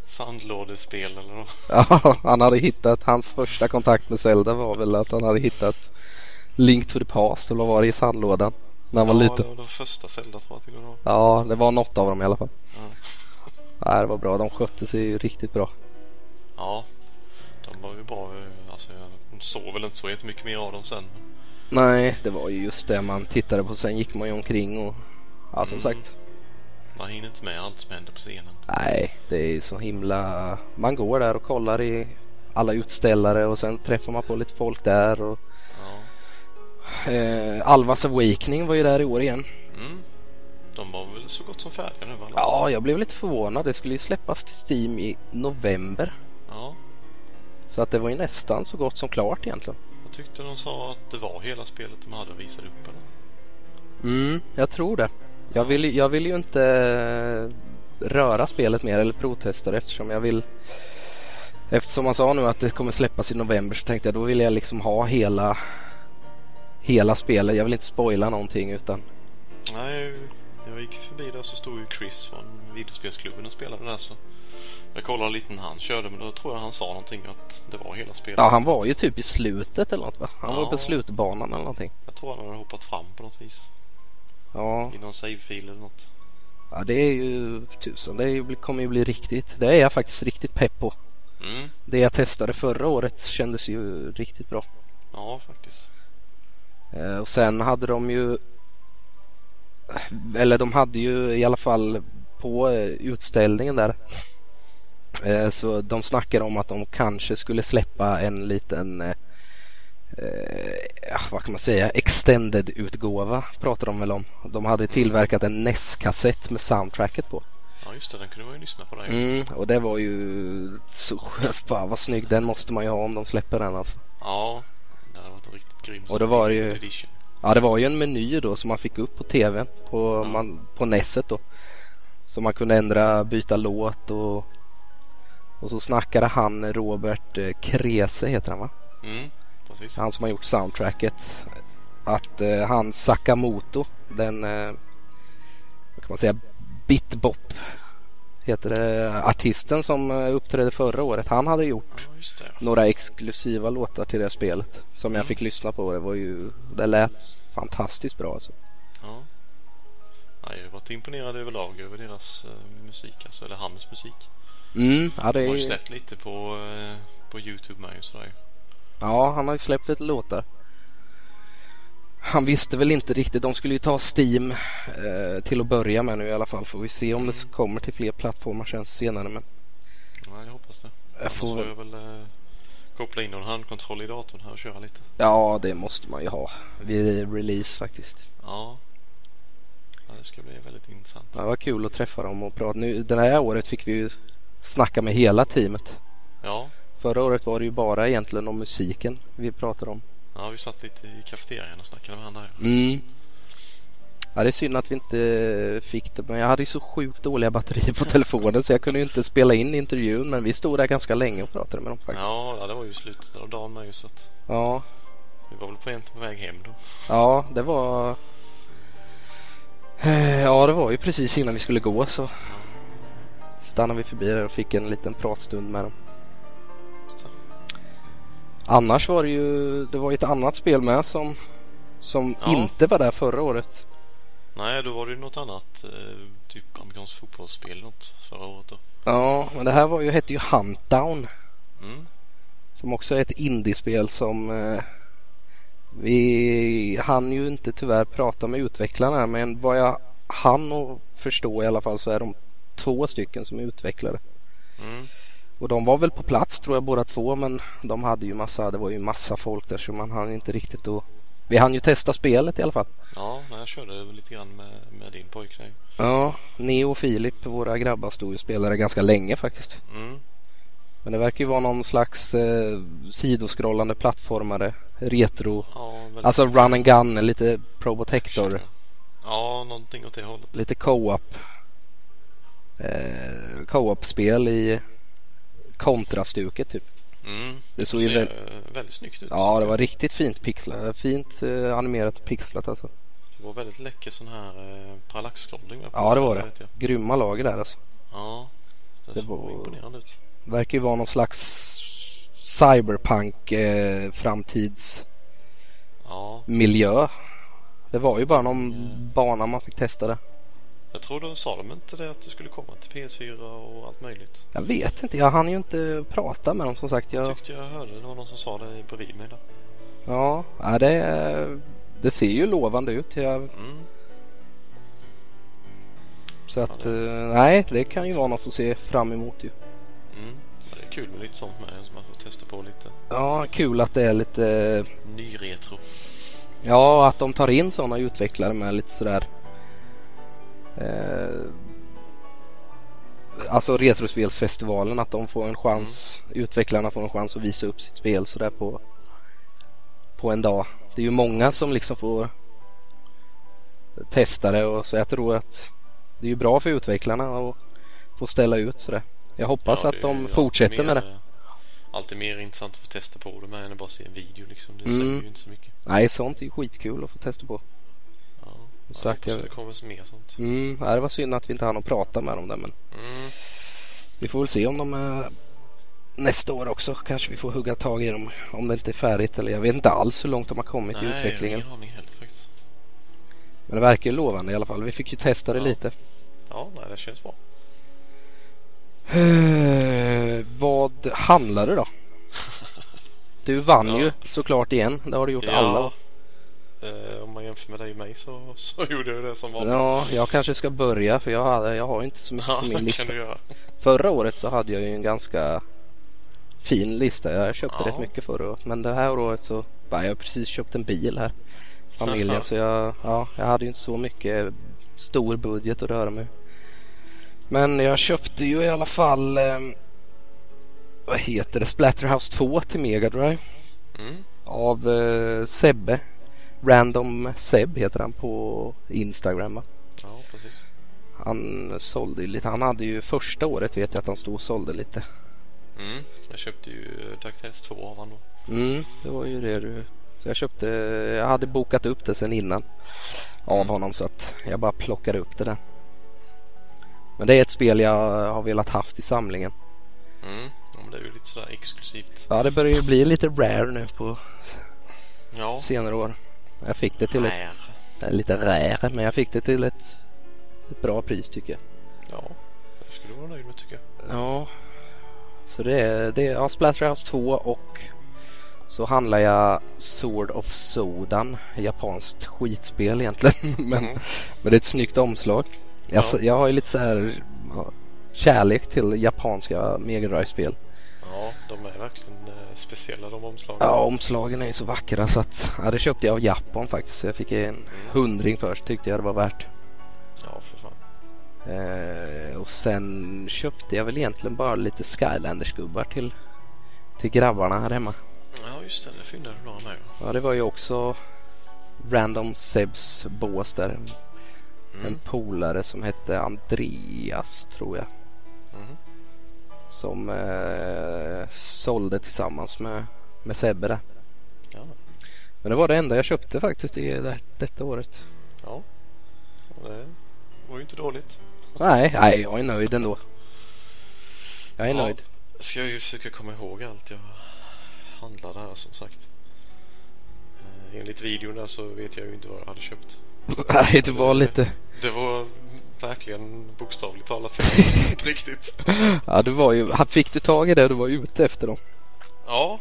[SPEAKER 2] Sandlådespel eller något.
[SPEAKER 1] (laughs) Ja, han hade hittat, hans första kontakt med Zelda var väl att han hade hittat Link to the Past eller vad var det i sandlådan. När han var
[SPEAKER 2] ja,
[SPEAKER 1] liten.
[SPEAKER 2] det var den första Zelda tror jag till och med.
[SPEAKER 1] Ja, det var något av dem i alla fall.
[SPEAKER 2] Ja.
[SPEAKER 1] Nej, det var bra. De skötte sig ju riktigt bra.
[SPEAKER 2] ja, de var ju bra. eh, Alltså jag såg väl inte så jättemycket mer av dem sen.
[SPEAKER 1] Nej, det var ju just det man tittade på. Sen gick man ju omkring och ja, som
[SPEAKER 2] Mm.
[SPEAKER 1] sagt.
[SPEAKER 2] Man hinner inte med allt som händer på scenen.
[SPEAKER 1] Nej, det är så himla... Man går där och kollar i alla utställare och sen träffar man på lite folk där. Och,
[SPEAKER 2] Ja.
[SPEAKER 1] eh, Alvas Awakening var ju där i år igen.
[SPEAKER 2] Mm. De var väl så gott som färdiga nu va? alla?
[SPEAKER 1] Ja, jag blev lite förvånad. Det skulle ju släppas till Steam i november.
[SPEAKER 2] ja.
[SPEAKER 1] Så att det var ju nästan så gott som klart egentligen.
[SPEAKER 2] Jag tyckte de sa att det var hela spelet de hade visat upp. Eller?
[SPEAKER 1] Mm, jag tror det. Jag vill, ju- jag vill ju inte eh, röra spelet mer eller provtesta det eftersom jag vill Eftersom man sa nu att det kommer släppas i november så tänkte jag då vill jag liksom ha hela Hela spelet. Jag vill inte spoila någonting utan
[SPEAKER 2] Nej, jag gick förbi där så stod ju Chris från videospelsklubben och spelade där så jag kollade lite när han körde men då tror jag han sa någonting att det var hela spelet.
[SPEAKER 1] Ja han var ju typ i slutet eller något va? Han var
[SPEAKER 2] Ja.
[SPEAKER 1] på slutbanan eller någonting.
[SPEAKER 2] Jag tror han hade hoppat fram på något vis
[SPEAKER 1] Ja,
[SPEAKER 2] i någon savefil eller något.
[SPEAKER 1] ja det är ju tusen. Det är ju, kommer ju bli riktigt. Det är jag faktiskt riktigt pepp på.
[SPEAKER 2] Mm,
[SPEAKER 1] Det jag testade förra året kändes ju riktigt bra.
[SPEAKER 2] ja faktiskt.
[SPEAKER 1] Eh, Och sen hade de ju Eller de hade ju i alla fall på eh, utställningen där eh, Så de snackade om att de kanske skulle släppa en liten eh, eh, ja, Vad kan man säga Extended-utgåva pratade de väl om De hade tillverkat en NES-kassett med soundtracket på
[SPEAKER 2] Ja just det, den kunde man ju lyssna på där ju.
[SPEAKER 1] mm, Och det var ju så (laughs) Fan vad snygg den måste man ju ha om de släpper den alltså
[SPEAKER 2] Ja, det hade varit en riktigt grym
[SPEAKER 1] Och då var det ju-
[SPEAKER 2] limited edition.
[SPEAKER 1] Ja, det var ju en meny då som man fick upp på tvn på,
[SPEAKER 2] Ja.
[SPEAKER 1] man, på Nesset då. Så man kunde ändra, byta låt och, och så snackade han Robert eh, Krese heter han va?
[SPEAKER 2] Mm, precis.
[SPEAKER 1] Han som har gjort soundtracket. Att eh, han Sakamoto, den, eh, vad kan man säga, bitbop heter det, artisten som eh, uppträdde förra året. Han hade gjort
[SPEAKER 2] Ja just det.
[SPEAKER 1] några exklusiva låtar till det här spelet som jag
[SPEAKER 2] Mm.
[SPEAKER 1] fick lyssna på. Det var ju, det lät fantastiskt bra alltså.
[SPEAKER 2] Ja. Nej, jag har varit imponerad överlag över deras eh, musik, alltså, eller hans musik.
[SPEAKER 1] Mm, ja, det
[SPEAKER 2] De har ju
[SPEAKER 1] är...
[SPEAKER 2] släppt lite på, eh, på Youtube med ju sådär.
[SPEAKER 1] ja, han har ju släppt lite låtar. Han visste väl inte riktigt. De skulle ju ta Steam eh, till att börja med nu i alla fall. Får vi se om det kommer till fler plattformar sen senare. Men
[SPEAKER 2] Nej, jag hoppas det.
[SPEAKER 1] jag
[SPEAKER 2] Annars
[SPEAKER 1] får
[SPEAKER 2] får
[SPEAKER 1] väl...
[SPEAKER 2] jag väl eh, koppla in någon handkontroll i datorn här och köra lite.
[SPEAKER 1] Ja, det måste man ju ha vid release faktiskt.
[SPEAKER 2] Ja. ja det ska bli väldigt intressant.
[SPEAKER 1] Ja, det var kul att träffa dem och prata. Nu, det här året fick vi ju snacka med hela teamet.
[SPEAKER 2] Ja.
[SPEAKER 1] Förra året var det ju bara egentligen om musiken vi pratade om.
[SPEAKER 2] ja, vi satt lite i kafeterian och snackade med han där.
[SPEAKER 1] Mm. Ja, det är synd att vi inte fick det, men jag hade ju så sjukt dåliga batterier på (laughs) telefonen så jag kunde ju inte spela in intervjun men vi stod där ganska länge och pratade med dem faktiskt.
[SPEAKER 2] Ja, ja, det var ju slutet av dagen med ju så att
[SPEAKER 1] Ja,
[SPEAKER 2] vi var väl på egentligen på väg hem då.
[SPEAKER 1] ja det var... Eh, Ja, det var ju precis innan vi skulle gå så stannade vi förbi där och fick en liten pratstund med dem.
[SPEAKER 2] Så.
[SPEAKER 1] Annars var det ju, det var ju ett annat spel med som, som
[SPEAKER 2] Ja.
[SPEAKER 1] inte var där förra året.
[SPEAKER 2] Nej, då var det ju något annat. Eh, typ amerikanskt fotbollsspel eller något förra året då.
[SPEAKER 1] Ja, men det här var ju, hette ju Huntdown.
[SPEAKER 2] Mm.
[SPEAKER 1] Som också är ett indiespel som eh, vi hann ju inte tyvärr prata med utvecklarna men vad jag hann och förstå i alla fall så är de två stycken som är utvecklare.
[SPEAKER 2] Mm.
[SPEAKER 1] Och de var väl på plats tror jag båda två men de hade ju massa, det var ju massa folk där så man hann inte riktigt att vi hann ju testa spelet i alla fall.
[SPEAKER 2] Ja, nej, jag körde lite grann med, med din pojk där ju.
[SPEAKER 1] Ja, Neo och Filip, våra grabbar, stod ju och spelade ganska länge faktiskt.
[SPEAKER 2] Mm.
[SPEAKER 1] Men det verkar ju vara någon slags eh, sidoskrollande plattformare, retro.
[SPEAKER 2] Ja, väldigt
[SPEAKER 1] Alltså run and gun, lite Probotector,
[SPEAKER 2] Känner- Ja, någonting åt det hållet.
[SPEAKER 1] lite co-op. Eh, co-op-spel i kontrastuket typ.
[SPEAKER 2] Mm.
[SPEAKER 1] Det såg ju
[SPEAKER 2] ser,
[SPEAKER 1] väl-
[SPEAKER 2] eh, väldigt snyggt ut.
[SPEAKER 1] Ja, det var riktigt fint pixlat, fint eh, animerat och pixlat alltså.
[SPEAKER 2] Det var väldigt läcker sån här eh, parallaxscrolling. va, på
[SPEAKER 1] Ja, det var
[SPEAKER 2] stället,
[SPEAKER 1] det.
[SPEAKER 2] vet jag.
[SPEAKER 1] Grymma lager där alltså.
[SPEAKER 2] Ja, Den
[SPEAKER 1] Det
[SPEAKER 2] såg
[SPEAKER 1] var-
[SPEAKER 2] imponerande ut.
[SPEAKER 1] Verkar ju vara någon slags cyberpunk eh, framtidsmiljö.
[SPEAKER 2] Ja,
[SPEAKER 1] Det var ju bara någon
[SPEAKER 2] Mm.
[SPEAKER 1] bana man fick testa det.
[SPEAKER 2] jag tror de sa de inte det att det skulle komma till PS4 och allt möjligt.
[SPEAKER 1] Jag vet inte, jag hann ju inte prata med dem som sagt. Jag,
[SPEAKER 2] Tyckte jag hörde, det var någon som sa det bredvid mig där.
[SPEAKER 1] ja, ja det, är- det ser ju lovande ut. Jag,
[SPEAKER 2] Mm.
[SPEAKER 1] så att,
[SPEAKER 2] Ja,
[SPEAKER 1] eh, nej, det kan ju vara något att se fram emot ju.
[SPEAKER 2] Mm. Ja, det är kul med lite sånt med så man får testa på lite
[SPEAKER 1] Ja, kul att det är lite, eh,
[SPEAKER 2] ny retro.
[SPEAKER 1] ja, att de tar in sådana utvecklare med lite sådär. Eh, alltså Retrospelsfestivalen, att de får en chans,
[SPEAKER 2] Mm.
[SPEAKER 1] utvecklarna får en chans att visa upp sitt spel sådär på, på en dag. Det är ju många som liksom får testa det och så jag tror att det är ju bra för utvecklarna att få ställa ut sådär. Jag hoppas
[SPEAKER 2] Ja, det
[SPEAKER 1] att
[SPEAKER 2] är
[SPEAKER 1] de
[SPEAKER 2] ju
[SPEAKER 1] fortsätter
[SPEAKER 2] alltid
[SPEAKER 1] med det.
[SPEAKER 2] mer- eh, Alltid mer intressant att få testa på det med än att bara se en video liksom. Det
[SPEAKER 1] Mm.
[SPEAKER 2] säger ju inte så mycket.
[SPEAKER 1] Nej, sånt är ju skitkul att få testa på.
[SPEAKER 2] Ja.
[SPEAKER 1] Exakt,
[SPEAKER 2] Ja,
[SPEAKER 1] jag-
[SPEAKER 2] jag hoppas att det kommer mer sånt.
[SPEAKER 1] Mm, ja, det var synd att vi inte hann att prata med dem där men
[SPEAKER 2] Mm.
[SPEAKER 1] vi får väl se om de eh, nästa år också kanske vi får hugga tag i dem om det inte är färdigt eller jag vet inte alls hur långt de har kommit
[SPEAKER 2] Nej,
[SPEAKER 1] i utvecklingen.
[SPEAKER 2] jag har ingen aning heller faktiskt.
[SPEAKER 1] Men det verkar ju lovande i alla fall. Vi fick ju testa det
[SPEAKER 2] Ja.
[SPEAKER 1] lite.
[SPEAKER 2] Ja, nej, det känns bra.
[SPEAKER 1] Eh, vad handlar det då? Du vann
[SPEAKER 2] Ja.
[SPEAKER 1] ju såklart igen. Det har du gjort alla år.
[SPEAKER 2] Eh, om man jämför med dig och mig så, så (laughs) gjorde jag det som vanligt.
[SPEAKER 1] Ja, jag kanske ska börja för jag, hade, jag har ju inte så mycket
[SPEAKER 2] Ja,
[SPEAKER 1] på
[SPEAKER 2] det
[SPEAKER 1] min lista.
[SPEAKER 2] kan du göra.
[SPEAKER 1] Förra året så hade jag ju en ganska fin lista. Jag köpte
[SPEAKER 2] Ja.
[SPEAKER 1] rätt mycket förra året. Men det här året så, bara, jag har precis köpt en bil här. Familjen. så jag, ja, jag hade ju inte så mycket stor budget att röra mig Men jag köpte ju i alla fall, ehm, vad heter det, Splatterhouse 2 till Mega Drive.
[SPEAKER 2] Mm.
[SPEAKER 1] Av eh, Sebbe. Random Seb heter han på Instagram. va?
[SPEAKER 2] Ja, precis.
[SPEAKER 1] Han sålde ju lite. Han hade ju första året vet jag att han stod och sålde lite.
[SPEAKER 2] Mm. Jag köpte ju eh, DuckTales 2 av han då.
[SPEAKER 1] Mm, det var ju det du... Så jag köpte, jag hade bokat upp det sen innan av honom så att jag bara plockade upp det där. Men det är ett spel jag har velat haft i samlingen.
[SPEAKER 2] Mm. Ja, men det är ju lite sådär exklusivt.
[SPEAKER 1] Ja, det börjar ju bli lite rare nu på
[SPEAKER 2] Ja.
[SPEAKER 1] senare år. Jag fick det till ett,
[SPEAKER 2] Här.
[SPEAKER 1] äh, lite rare, men jag fick det till ett, ett bra pris tycker jag.
[SPEAKER 2] Ja, det skulle du vara nöjd med tycker jag.
[SPEAKER 1] Ja, så det är, det är ja, Splatterhouse 2 och så handlar jag Sword of Sodan, japanskt skitspel egentligen. (laughs) Men
[SPEAKER 2] Mm.
[SPEAKER 1] Men det är ett snyggt omslag. Jag,
[SPEAKER 2] Ja.
[SPEAKER 1] jag har ju lite så här ja, kärlek till japanska Mega Drive-spel.
[SPEAKER 2] Ja, de är verkligen eh, speciella de omslagen.
[SPEAKER 1] Ja, omslagen är ju så vackra så att ja, det köpte jag av Japan faktiskt. Så jag fick en hundring först tyckte jag det var värt.
[SPEAKER 2] Ja, för fan.
[SPEAKER 1] Eh, och sen köpte jag väl egentligen bara lite Skylanders-gubbar till, till grabbarna här hemma.
[SPEAKER 2] Ja, just det. Det fyndade du några med. ja.
[SPEAKER 1] Ja, det var ju också Random Sebs bås där. En
[SPEAKER 2] Mm.
[SPEAKER 1] polare som hette Andreas tror jag.
[SPEAKER 2] Mm.
[SPEAKER 1] som eh, sålde tillsammans med, med Sebbe där.
[SPEAKER 2] Ja.
[SPEAKER 1] Men det var det enda jag köpte faktiskt i det, detta året.
[SPEAKER 2] ja. Ja, Det var ju inte dåligt.
[SPEAKER 1] Nej, nej, jag är nöjd ändå. Jag är
[SPEAKER 2] Ja.
[SPEAKER 1] nöjd. (laughs)
[SPEAKER 2] Ska jag ju försöka komma ihåg allt jag handlade här som sagt. Eh, Enligt videon där så vet jag ju inte vad jag hade köpt.
[SPEAKER 1] Nej, du var lite,
[SPEAKER 2] Det var verkligen bokstavligt talat
[SPEAKER 1] (laughs)
[SPEAKER 2] faktiskt. Inte riktigt.
[SPEAKER 1] ja du var ju, fick du tag i det du var ute efter då?
[SPEAKER 2] Ja,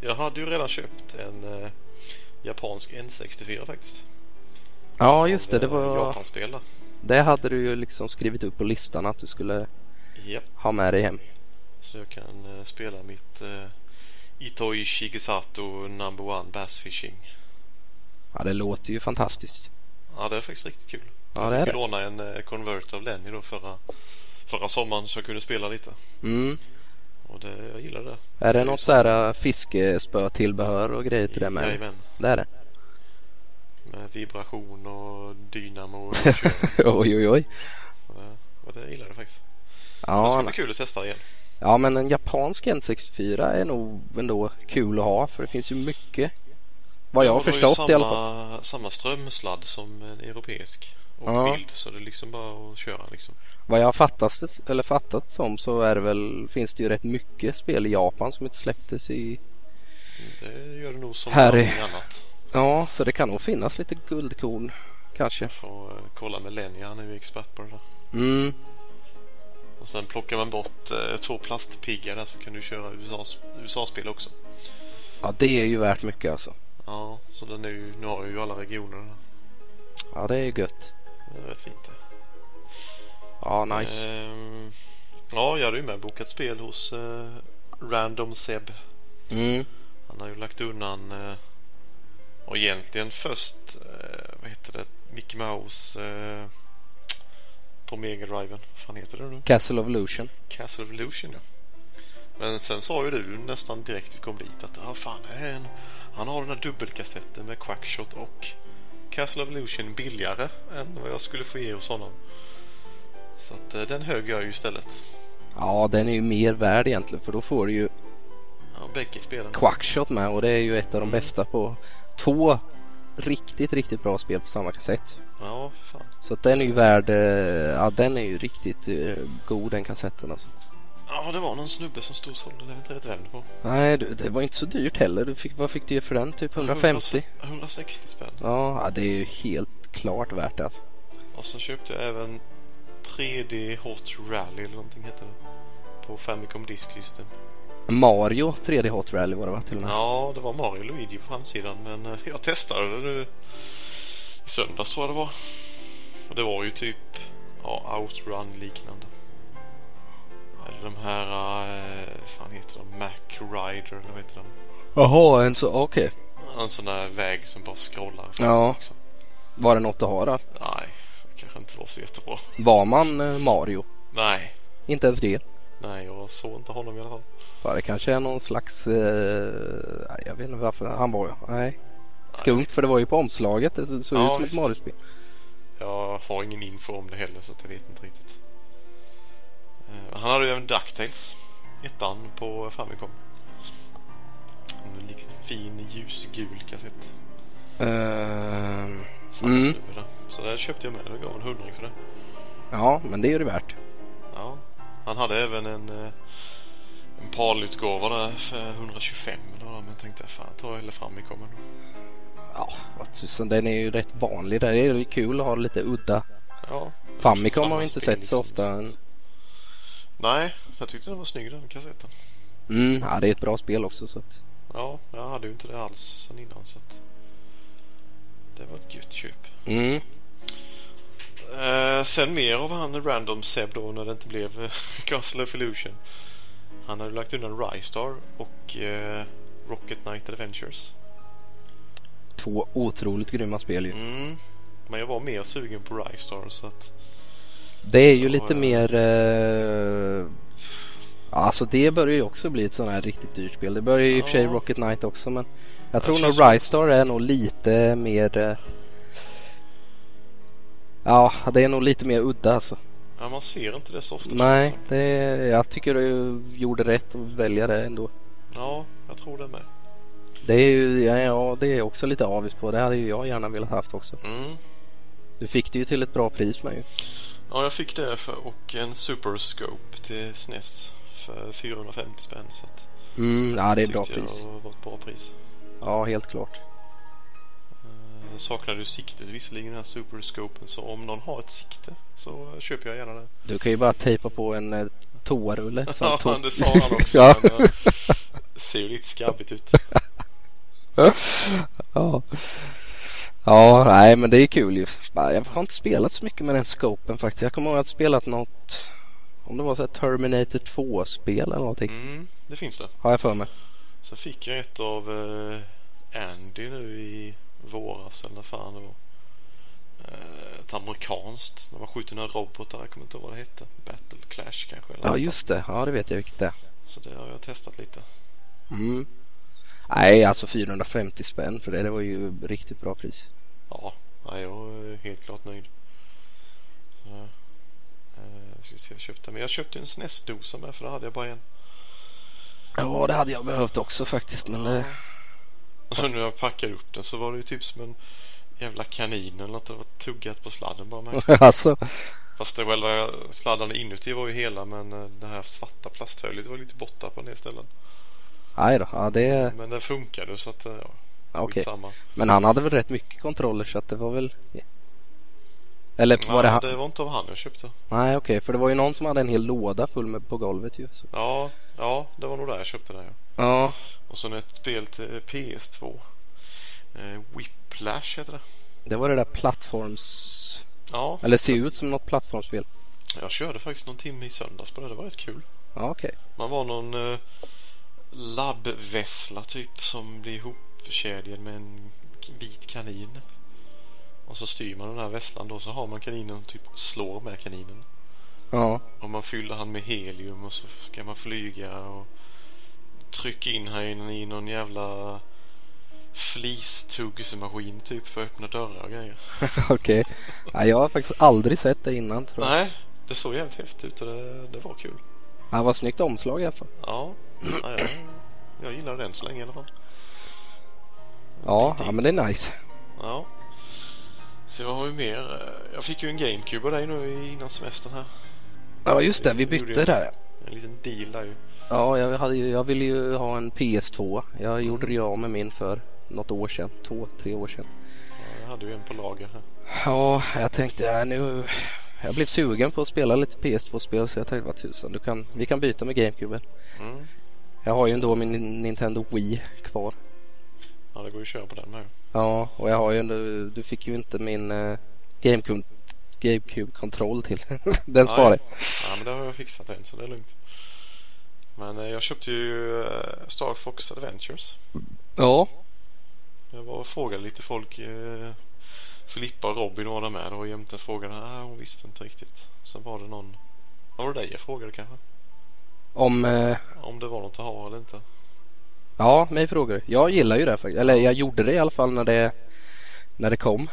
[SPEAKER 2] jag hade ju redan köpt en eh, japansk N64 faktiskt.
[SPEAKER 1] Ja, just det,
[SPEAKER 2] Av,
[SPEAKER 1] det
[SPEAKER 2] eh,
[SPEAKER 1] var,
[SPEAKER 2] Japanspel där.
[SPEAKER 1] det hade du ju liksom skrivit upp på listan att du skulle
[SPEAKER 2] Japp.
[SPEAKER 1] ha med dig hem.
[SPEAKER 2] Så jag kan eh, spela mitt eh, Itoi Shigesato Number One Bass Fishing.
[SPEAKER 1] Ja, det låter ju fantastiskt.
[SPEAKER 2] Ja, det är faktiskt riktigt kul.
[SPEAKER 1] Ja, det är
[SPEAKER 2] Jag
[SPEAKER 1] det.
[SPEAKER 2] lånade en eh, Convert av Lenny då förra, förra sommaren så jag kunde spela lite.
[SPEAKER 1] Mm.
[SPEAKER 2] Och det, jag gillar det.
[SPEAKER 1] Är det något så här äh, fiskespö-tillbehör och grejer till det med?
[SPEAKER 2] Jajamän.
[SPEAKER 1] Det är det. (laughs)
[SPEAKER 2] Med vibration och dynamo och kör.
[SPEAKER 1] Oj, oj, oj.
[SPEAKER 2] Och det- Och det gillar jag faktiskt. det
[SPEAKER 1] Ja,
[SPEAKER 2] ska bli kul att testa igen.
[SPEAKER 1] Ja men en japansk N64 är nog ändå kul att ha för det finns ju mycket. Vad jag har
[SPEAKER 2] Och det var ju
[SPEAKER 1] förstått i alla fall.
[SPEAKER 2] samma, Samma strömsladd som en europeisk. och
[SPEAKER 1] Ja.
[SPEAKER 2] bild. Så det är liksom bara att köra liksom.
[SPEAKER 1] Vad jag har fattat, eller fattat som så är det väl, finns det ju rätt mycket spel i Japan som inte släpptes i...
[SPEAKER 2] Det gör det nog som
[SPEAKER 1] Här är-
[SPEAKER 2] allting annat.
[SPEAKER 1] Ja, så det kan nog finnas lite guldkorn kanske.
[SPEAKER 2] Jag får eh, kolla med Lenja, han är ju expert på det där.
[SPEAKER 1] Mm,
[SPEAKER 2] Och sen plockar man bort eh, två plastpiggar där så kan du köra USAs USA-spel också.
[SPEAKER 1] ja det är ju värt mycket alltså.
[SPEAKER 2] Ja, så den är ju, nu har jag ju alla regionerna.
[SPEAKER 1] Ja, det är ju gött.
[SPEAKER 2] Det är rätt fint det.
[SPEAKER 1] Ja, nice.
[SPEAKER 2] Ehm, ja, jag hade ju med bokat spel hos eh, Random Seb.
[SPEAKER 1] Mm,
[SPEAKER 2] Han har ju lagt undan eh, och egentligen först, eh, vad heter det, Mickey Mouse eh, på Mega Driven. Vad fan heter det nu?
[SPEAKER 1] Castle of Illusion.
[SPEAKER 2] Castle of Illusion ja. Men sen sa ju du nästan direkt vi kom dit att ah, fan, det här är en... han har den här dubbelkassetten med Quackshot och Castle of Illusion billigare än vad jag skulle få ge hos honom. Så att eh, den högg jag ju istället.
[SPEAKER 1] Ja, den är ju mer värd egentligen för då får du ju
[SPEAKER 2] Ja, bägge spelen.
[SPEAKER 1] Quackshot med och det är ju ett av de
[SPEAKER 2] Mm.
[SPEAKER 1] bästa på två riktigt, riktigt bra spel på samma kassett.
[SPEAKER 2] Ja, fan.
[SPEAKER 1] Så att den är ju värd, eh, ja den är ju riktigt eh, god den kassetten alltså.
[SPEAKER 2] Ja, det var någon snubbe som stod och sålde. Jag vet inte riktigt vem det var.
[SPEAKER 1] Nej, du, det var inte så dyrt heller. Du fick, vad fick du ge för den? Typ 150?
[SPEAKER 2] 160 spänn.
[SPEAKER 1] Ja, ja, det är ju helt klart värt det alltså.
[SPEAKER 2] Och så köpte jag även 3D Hot Rally eller någonting heter det. På Famicom Disk System.
[SPEAKER 1] Mario 3D Hot Rally var det va till och med?
[SPEAKER 2] Ja, det var Mario och Luigi på framsidan men eh, jag testade det nu i söndags tror jag det var. Och det var ju typ ja, Outrun liknande. Eller de här, eh, vad fan heter de? Mac Rider eller vad heter de?
[SPEAKER 1] Jaha, en så, okej.
[SPEAKER 2] En sån där väg som bara scrollar fram
[SPEAKER 1] Ja.
[SPEAKER 2] liksom.
[SPEAKER 1] Var det något att ha då?
[SPEAKER 2] Nej, det kanske inte var så jättebra.
[SPEAKER 1] Var man eh, Mario?
[SPEAKER 2] Nej,
[SPEAKER 1] Inte ens det.
[SPEAKER 2] nej jag såg inte honom i alla fall.
[SPEAKER 1] Ja, det kanske är någon slags, eh, nej, jag vet inte varför han var ju, nej. Skumt för det var ju på omslaget, det såg
[SPEAKER 2] Ja,
[SPEAKER 1] ut som ett
[SPEAKER 2] visst.
[SPEAKER 1] Mario-spel.
[SPEAKER 2] Jag har ingen info om det heller så att jag vet inte riktigt. Eh, han hade ju även Ducktails. Ettan på Famicom. En liten fin ljusgul kassett.
[SPEAKER 1] Ehm,
[SPEAKER 2] Fan,
[SPEAKER 1] mm,
[SPEAKER 2] vad snygg är det. Så där köpte jag med och gav en hundring för det.
[SPEAKER 1] ja, men det är ju det värt.
[SPEAKER 2] Ja. Han hade även en, eh, en PAL-utgåva där för 125 eller vad det var. men jag tänkte fan jag tar hela Famicomen.
[SPEAKER 1] Ja, vad tusan, den är ju rätt vanlig där. Det är ju kul att ha lite udda.
[SPEAKER 2] Ja.
[SPEAKER 1] Famicom
[SPEAKER 2] Samma
[SPEAKER 1] har vi inte
[SPEAKER 2] spel
[SPEAKER 1] sett så
[SPEAKER 2] liksom.
[SPEAKER 1] ofta.
[SPEAKER 2] Nej, jag tyckte den var snygg den kassetten.
[SPEAKER 1] Mm, ja, det är ett bra spel också så att.
[SPEAKER 2] Ja, jag hade ju inte det alls sen innan så att det var ett gött köp.
[SPEAKER 1] Mm,
[SPEAKER 2] Eh, sen mer av han Random Seb då när det inte blev eh, (laughs) Castle of Illusion. Han hade lagt undan Rystar och eh, Rocket Knight Adventures.
[SPEAKER 1] två otroligt grymma spel ju.
[SPEAKER 2] Mm. Men jag var mer sugen på Rystar så att
[SPEAKER 1] Det är ju
[SPEAKER 2] Ja,
[SPEAKER 1] lite
[SPEAKER 2] ja.
[SPEAKER 1] mer... Eh, alltså det börjar ju också bli ett sånt här riktigt dyrt spel. Det börjar ju i och för sig
[SPEAKER 2] Ja.
[SPEAKER 1] Rocket Knight också men jag
[SPEAKER 2] Det
[SPEAKER 1] tror nog
[SPEAKER 2] känns som-
[SPEAKER 1] Ristar är nog lite mer... Eh, ja, det är nog lite mer udda alltså.
[SPEAKER 2] ja, man ser inte det så ofta.
[SPEAKER 1] Nej,
[SPEAKER 2] känns det
[SPEAKER 1] det, jag tycker du gjorde rätt att välja det ändå.
[SPEAKER 2] som. Ja, jag tror det med.
[SPEAKER 1] Det är ju, ja, ja det är jag också lite avis på. Det hade ju jag gärna velat haft också.
[SPEAKER 2] Mm.
[SPEAKER 1] Du fick det ju till ett bra pris med ju.
[SPEAKER 2] Ja, jag fick det för, och en Super Scope till SNES för 450 spänn. Så att
[SPEAKER 1] Mm, ja det är bra
[SPEAKER 2] tyckte
[SPEAKER 1] pris.
[SPEAKER 2] jag var ett bra pris.
[SPEAKER 1] Ja, helt klart.
[SPEAKER 2] Eh, Saknar du siktet visserligen den här superscopen så om någon har ett sikte så köper jag gärna det.
[SPEAKER 1] Du kan ju bara tejpa på en eh,
[SPEAKER 2] (laughs)
[SPEAKER 1] toarulle. som
[SPEAKER 2] Ja,
[SPEAKER 1] to-
[SPEAKER 2] det sa han
[SPEAKER 1] (laughs)
[SPEAKER 2] också.
[SPEAKER 1] ja.
[SPEAKER 2] men, eh, ser ju lite skabbigt ut.
[SPEAKER 1] ja. ja, nej men det är kul ju. Bara, Jag har inte spelat så mycket med den scopen faktiskt. Jag kommer ihåg att jag spelat något, om det var så här Terminator 2-spel eller någonting.
[SPEAKER 2] Mm, det finns det.
[SPEAKER 1] Har jag för mig.
[SPEAKER 2] Sen fick jag ett av eh, Andy nu i våras eller när fan det var. Eh, Ett amerikanskt när man skjuter några robotar. Jag kommer inte ihåg vad det hette. Battle Clash kanske. Eller
[SPEAKER 1] Ja
[SPEAKER 2] något.
[SPEAKER 1] just det, ja det vet jag vilket det är.
[SPEAKER 2] Så det har jag testat lite.
[SPEAKER 1] Mm. Nej alltså 450 spänn för det, det var ju riktigt bra pris.
[SPEAKER 2] Ja, nej, jag är helt klart nöjd. Så, eh, ska vi se, jag köpte, men jag köpte en SNES-dosa med för det hade jag bara en.
[SPEAKER 1] Ja det hade
[SPEAKER 2] eh,
[SPEAKER 1] jag behövt också faktiskt men det...
[SPEAKER 2] Och nu när jag packade upp den så var det ju typ som en jävla kanin eller något. Det var tuggat på sladden bara. Men...
[SPEAKER 1] (laughs) alltså,
[SPEAKER 2] Fast det själva sladdarna inuti var ju hela men eh, det här svarta plasthöljet var lite borta på en del ställen.
[SPEAKER 1] nej då. Ja, det,
[SPEAKER 2] Men den funkade så att eh, ja,
[SPEAKER 1] okej.
[SPEAKER 2] skitsamma.
[SPEAKER 1] Men han hade väl rätt mycket kontroller så att det var väl... Eller var
[SPEAKER 2] Nej,
[SPEAKER 1] det han?
[SPEAKER 2] det var inte av han jag köpte.
[SPEAKER 1] Nej okej, för det var ju någon som hade en hel låda full med på golvet ju. Så.
[SPEAKER 2] Ja, ja det var nog där jag köpte den. Ja.
[SPEAKER 1] Ja,
[SPEAKER 2] Och sen ett spel till eh, PS2. Eh, Whiplash heter det.
[SPEAKER 1] det var det där plattforms...
[SPEAKER 2] Ja,
[SPEAKER 1] Eller ser ut som något plattformsspel.
[SPEAKER 2] jag körde faktiskt någon timme i söndags på det. Det var rätt kul.
[SPEAKER 1] Ja okej.
[SPEAKER 2] Man var någon eh, labbvessla typ som blir ihopkedjad med en k- vit kanin. Och så styr man den här vesslan då så har man kaninen och typ slår med kaninen.
[SPEAKER 1] Ja.
[SPEAKER 2] Och man fyller han med helium och så ska man flyga och trycka in här inne i någon jävla flistuggmaskin typ för att öppna dörrar och grejer.
[SPEAKER 1] (laughs) Okej. Ja, jag har faktiskt aldrig sett det innan tror jag.
[SPEAKER 2] Nej, det såg jävligt häftigt ut och det, det var kul.
[SPEAKER 1] Ja, vad snyggt omslag i alla fall.
[SPEAKER 2] Ja, ja jag, jag gillar den så länge i alla fall.
[SPEAKER 1] Ja, ja men det är nice.
[SPEAKER 2] Ja. Så jag har ju mer. eh, Jag fick ju en GameCube av dig nu innan semestern här.
[SPEAKER 1] Ja just det, vi bytte där.
[SPEAKER 2] En liten deal där ju.
[SPEAKER 1] Ja, jag, hade ju, jag ville ju ha en PS2. Jag gjorde ju av med min för något år sedan. Två, tre år sedan.
[SPEAKER 2] Ja, jag hade ju en på lager här.
[SPEAKER 1] Ja, jag tänkte äh, nu... Jag blev sugen på att spela lite PS2-spel så jag tänkte vad tusan, du kan, vi kan byta med GameCube.
[SPEAKER 2] Mm.
[SPEAKER 1] Jag har ju ändå min Nintendo Wii kvar.
[SPEAKER 2] Ja, det går ju att köra på den med.
[SPEAKER 1] Ja, och jag har ju ändå, du fick ju inte min eh, GameCube, GameCube-kontroll till. (laughs) Den sparar jag.
[SPEAKER 2] Ja, men det har jag fixat än så det är lugnt. Men eh, jag köpte ju eh, Star Fox Adventures.
[SPEAKER 1] Ja,
[SPEAKER 2] Jag var och frågade lite folk. eh, Filippa och Robin var där med och jämte frågade. Nej, hon visste inte riktigt. Sen var det någon. Var det dig jag frågade kanske?
[SPEAKER 1] om... Eh,
[SPEAKER 2] Om det var något att ha eller inte.
[SPEAKER 1] ja, mig frågar du. Jag gillar ju det här faktiskt. Eller jag gjorde det i alla fall när det, när det kom.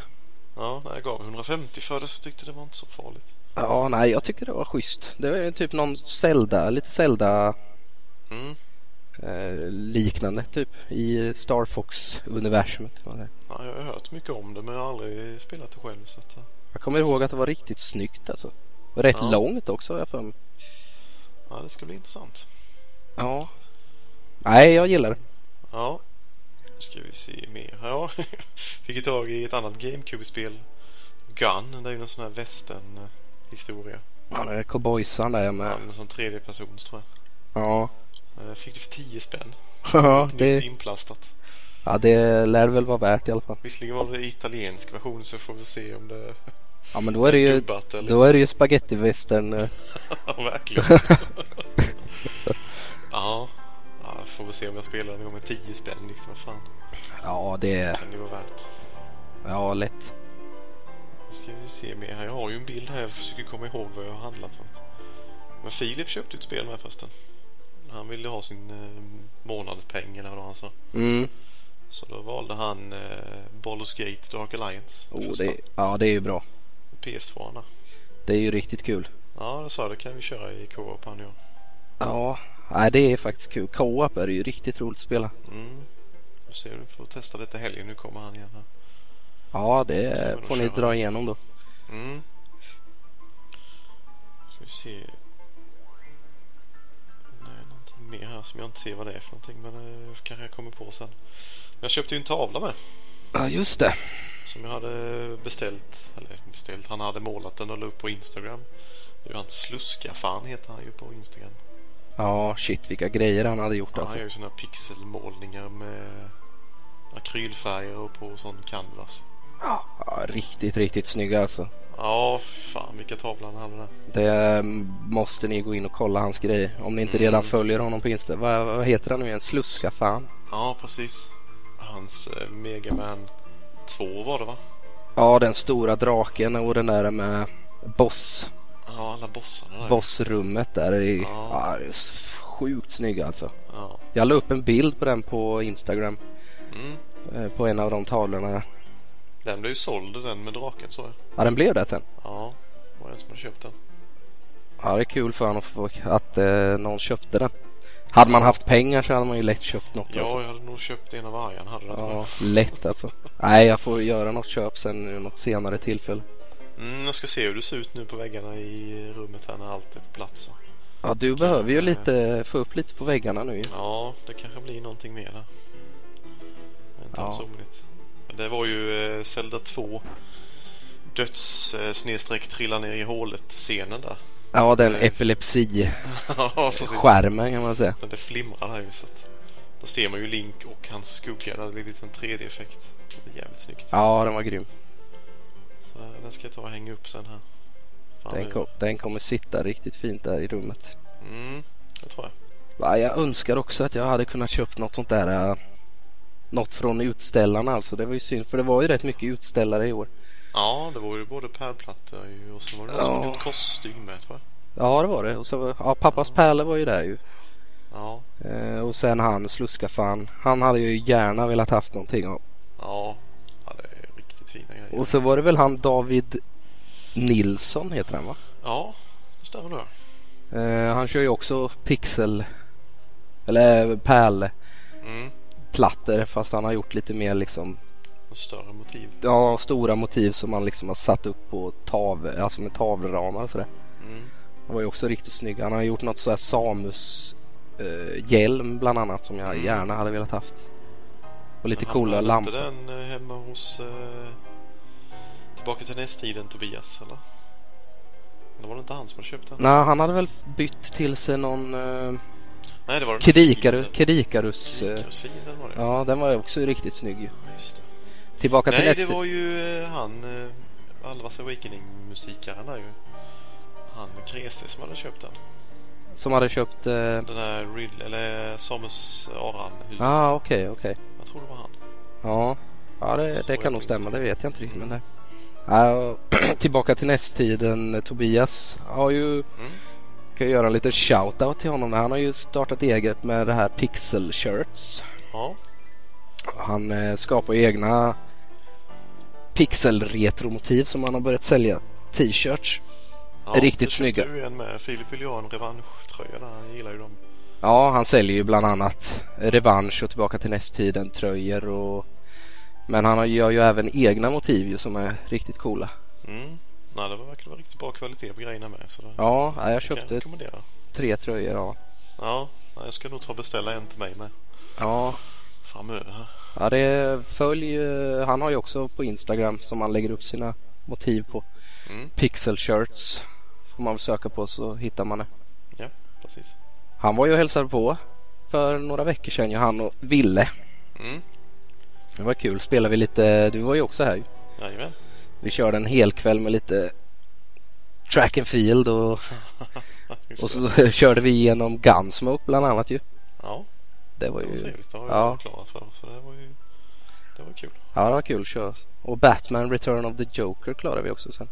[SPEAKER 2] Ja, nej, jag gav 150 för det så tyckte det var inte så farligt.
[SPEAKER 1] Ja, nej, jag tycker det var schysst. Det var ju typ någon Zelda, lite Zelda
[SPEAKER 2] Mm.
[SPEAKER 1] eh, liknande typ i Star Fox-universumet. vad det är.
[SPEAKER 2] Ja, jag har hört mycket om det men jag har aldrig spelat det själv. Så att, eh,
[SPEAKER 1] Jag kommer ihåg att det var riktigt snyggt alltså. Och Rätt
[SPEAKER 2] Ja.
[SPEAKER 1] långt också har jag för mig.
[SPEAKER 2] ja, det ska bli intressant.
[SPEAKER 1] Ja. Nej, jag gillar det.
[SPEAKER 2] Ja, nu ska vi se mer. (laughs) Ja, fick ju tag i ett annat GameCube-spel. Gun, det är ju någon sån här västern-historia.
[SPEAKER 1] Han är cowboysan där
[SPEAKER 2] Ja,
[SPEAKER 1] med.
[SPEAKER 2] någon sån tredje persons tror
[SPEAKER 1] Ja. (laughs)
[SPEAKER 2] jag. Eh, Fick det för 10 spänn.
[SPEAKER 1] Ja,
[SPEAKER 2] Nytt
[SPEAKER 1] det,
[SPEAKER 2] inplastat.
[SPEAKER 1] ja, det lär väl vara värt i alla fall.
[SPEAKER 2] Visserligen var det italiensk version så får vi se om det
[SPEAKER 1] Ja, men då är det ju,
[SPEAKER 2] dubbat eller...
[SPEAKER 1] då är det ju spagettivästern. eh.
[SPEAKER 2] (laughs) Ja, verkligen. (laughs) ja. ja, får vi se om jag spelar den med 10 spänn liksom. Vad fan,
[SPEAKER 1] Ja, det
[SPEAKER 2] kan det vara värt?
[SPEAKER 1] Ja, lätt.
[SPEAKER 2] Nu ska vi se mer här. Jag har ju en bild här. Jag försöker komma ihåg vad jag har handlat för något. Men Filip köpte ett spel med förresten. Han ville ha sin eh, månadspeng eller vad han sa.
[SPEAKER 1] Mm.
[SPEAKER 2] Så då valde han eh, Baldur's Gate Dark Alliance.
[SPEAKER 1] Oh,
[SPEAKER 2] Första
[SPEAKER 1] det, ja, det är ju bra.
[SPEAKER 2] PS2 -arna.
[SPEAKER 1] Det är ju riktigt kul.
[SPEAKER 2] Ja, det sa jag. Det kan vi köra i co-op han och jag.
[SPEAKER 1] Ja, nej, det är faktiskt kul. Co-op är det ju riktigt roligt att spela.
[SPEAKER 2] Mm. Vi ser, vi får testa detta helgen. Nu kommer han igen här.
[SPEAKER 1] Ja,
[SPEAKER 2] Ska
[SPEAKER 1] det
[SPEAKER 2] man
[SPEAKER 1] får ni
[SPEAKER 2] köra.
[SPEAKER 1] dra igenom då.
[SPEAKER 2] Mm. Ska vi se. Nej, någonting mer här som jag inte ser vad det är för någonting. Men eh, kanske jag kommer på sen. Men jag köpte ju en tavla med.
[SPEAKER 1] Ja, just det.
[SPEAKER 2] Som jag hade beställt. Eller beställt. Han hade målat den och la upp på Instagram. Det är ju hans Sluska-fan heter han ju på Instagram.
[SPEAKER 1] Ja, shit vilka grejer han hade gjort
[SPEAKER 2] Han
[SPEAKER 1] alltså.
[SPEAKER 2] gör ju sådana pixelmålningar med akrylfärger och på sån canvas.
[SPEAKER 1] Ja, riktigt, riktigt snygga alltså.
[SPEAKER 2] Ja, fy fan vilka tavlor han hade där.
[SPEAKER 1] Det mm, måste ni gå in och kolla hans grejer. Om ni inte
[SPEAKER 2] Mm.
[SPEAKER 1] redan följer honom på Insta. Vad, vad heter han nu igen? Sluska fan.
[SPEAKER 2] Ja, precis. Hans eh, Mega Man 2 var det va?
[SPEAKER 1] Ja, den stora draken och den där med boss,
[SPEAKER 2] Ja, alla bossarna där.
[SPEAKER 1] bossrummet där. Det är,
[SPEAKER 2] Ja.
[SPEAKER 1] ja, det är s- sjukt snygga alltså.
[SPEAKER 2] Ja.
[SPEAKER 1] Jag la upp en bild på den på Instagram.
[SPEAKER 2] Mm.
[SPEAKER 1] eh, På en av de tavlorna.
[SPEAKER 2] Den blev ju såld den med draken så jag.
[SPEAKER 1] Ja, den blev det sen.
[SPEAKER 2] Ja, det var en som hade köpt den.
[SPEAKER 1] Ja, det är kul för honom att, få- att eh, någon köpte den. Hade man haft pengar så hade man ju lätt köpt något.
[SPEAKER 2] Ja,
[SPEAKER 1] alltså.
[SPEAKER 2] jag hade nog köpt en av varje. Han hade det.
[SPEAKER 1] ja, lätt alltså. Nej, jag får göra något köp sen vid något senare tillfälle.
[SPEAKER 2] Mm, jag ska se hur det ser ut nu på väggarna i rummet här när allt är på plats.
[SPEAKER 1] Ja, du behöver ju lite, få upp lite på väggarna nu ju.
[SPEAKER 2] Ja, det kanske blir någonting mer där. Men Inte
[SPEAKER 1] Ja.
[SPEAKER 2] alls roligt. Men Det var ju eh, Zelda 2 döds eh, snedstreck trilla ner i hålet scenen där.
[SPEAKER 1] Ja, den
[SPEAKER 2] Nej.
[SPEAKER 1] epilepsi-skärmen
[SPEAKER 2] (laughs) ja, precis.
[SPEAKER 1] kan man säga.
[SPEAKER 2] Men det flimrar där ju så att då ser man ju Link och hans skugga. Där det blir en liten 3D-effekt. Det är jävligt snyggt.
[SPEAKER 1] Ja, den var grym.
[SPEAKER 2] Så eh, den ska jag ta och hänga upp sen här. Fan,
[SPEAKER 1] Den,
[SPEAKER 2] det-
[SPEAKER 1] kom, den kommer sitta riktigt fint där i rummet.
[SPEAKER 2] Mm, det tror jag.
[SPEAKER 1] Va, Jag önskar också att jag hade kunnat köpt något sånt där. eh, Något från utställarna alltså. Det var ju synd för det var ju rätt mycket utställare i år.
[SPEAKER 2] Ja, det var ju både pärlplattor ju och så var det någon som
[SPEAKER 1] Ja.
[SPEAKER 2] hade gjort kostym med tror jag.
[SPEAKER 1] Ja, det var det. Och så, ja, pappas pärla var ju där ju.
[SPEAKER 2] Ja,
[SPEAKER 1] Eh, och sen han sluskafan. Han hade ju gärna velat haft någonting av.
[SPEAKER 2] ja. ja det är riktigt fina grejer.
[SPEAKER 1] Och så var det väl han David Nilsson heter han va?
[SPEAKER 2] Ja, det stämmer nog.
[SPEAKER 1] Eh, han kör ju också pixel eller eh, pärlplattor
[SPEAKER 2] Mm.
[SPEAKER 1] fast han har gjort lite mer liksom
[SPEAKER 2] Och större motiv.
[SPEAKER 1] ja, stora motiv som man liksom har satt upp på tav, alltså med tavleramar och sådär.
[SPEAKER 2] Mm.
[SPEAKER 1] Han var ju också riktigt snygg. Han har gjort något sådär Samus eh, hjälm bland annat som jag
[SPEAKER 2] Mm.
[SPEAKER 1] gärna hade velat haft. Och lite
[SPEAKER 2] Men han
[SPEAKER 1] coola
[SPEAKER 2] hade
[SPEAKER 1] lampor.
[SPEAKER 2] Inte den eh, hemma hos eh, Tillbaka till nästiden Tobias eller? Det var det inte han som hade köpt den?
[SPEAKER 1] Nej, han hade väl bytt till sig någon eh,
[SPEAKER 2] Nej, det var den
[SPEAKER 1] Kedikaru,
[SPEAKER 2] filen.
[SPEAKER 1] Kedikarus. Eh,
[SPEAKER 2] Kritikerfilen var det. Ja.
[SPEAKER 1] ja, den var ju också riktigt snygg ju.
[SPEAKER 2] Just det.
[SPEAKER 1] Tillbaka till
[SPEAKER 2] Nej, det
[SPEAKER 1] nästa.
[SPEAKER 2] var ju eh, han eh, Alvas Awakening-musikaren där ju. Han Krese som hade köpt den.
[SPEAKER 1] Som hade köpt... eh,
[SPEAKER 2] Den där Riddle, eller eh, Samus Aran
[SPEAKER 1] Ja, Ah, okej, okej.
[SPEAKER 2] Jag tror det var han.
[SPEAKER 1] Ja, ja det, det
[SPEAKER 2] Så
[SPEAKER 1] kan nog
[SPEAKER 2] finns
[SPEAKER 1] stämma.
[SPEAKER 2] det.
[SPEAKER 1] Det vet jag inte riktigt.
[SPEAKER 2] Mm.
[SPEAKER 1] Men det... Ja, och (clears throat) tillbaka till nästtiden. eh, Tobias har ju...
[SPEAKER 2] Mm.
[SPEAKER 1] Kan ju göra en liten shout-out till honom. Han har ju startat eget med det här Pixel Shirts.
[SPEAKER 2] Ja,
[SPEAKER 1] Han eh, skapar ju egna pixel-retromotiv som han har börjat sälja. T-shirts.
[SPEAKER 2] ja
[SPEAKER 1] Riktigt
[SPEAKER 2] det köpte
[SPEAKER 1] snygga.
[SPEAKER 2] Du en med. Filip vill ju ha en revanschtröja där. Han gillar ju dem.
[SPEAKER 1] Ja, han säljer ju bland annat Revansch och Tillbaka till nästtiden tröjor och men han har- gör ju även egna motiv ju som är riktigt coola.
[SPEAKER 2] Mm. Nej, det verkar vara riktigt bra kvalitet på grejerna med. Så det
[SPEAKER 1] Ja, ja, jag
[SPEAKER 2] kan jag
[SPEAKER 1] köpte
[SPEAKER 2] rekommendera.
[SPEAKER 1] tre tröjor. Ja,
[SPEAKER 2] Ja, nej, jag ska nog ta och beställa en till mig med
[SPEAKER 1] ja,
[SPEAKER 2] framöver. här.
[SPEAKER 1] ja det följer Han har ju också på Instagram som han lägger upp sina motiv på.
[SPEAKER 2] Mm.
[SPEAKER 1] Pixel shirts får man väl söka på så hittar man det.
[SPEAKER 2] Ja, precis.
[SPEAKER 1] Han var ju och hälsade på för några veckor sedan ju han och Ville.
[SPEAKER 2] Mm.
[SPEAKER 1] Det var kul. Spelade vi lite. Du var ju också här ju.
[SPEAKER 2] Jajamän.
[SPEAKER 1] Vi körde en hel kväll med lite track and field och,
[SPEAKER 2] Just
[SPEAKER 1] och
[SPEAKER 2] det.
[SPEAKER 1] så (laughs) körde vi igenom Gunsmoke bland annat ju.
[SPEAKER 2] Ja,
[SPEAKER 1] Det var
[SPEAKER 2] det var
[SPEAKER 1] ju,
[SPEAKER 2] trevligt. Det har
[SPEAKER 1] ja.
[SPEAKER 2] jag klarat för. Så det var ju det var kul.
[SPEAKER 1] ja det var kul att köra. Och Batman Return of the Joker klarade vi också sen.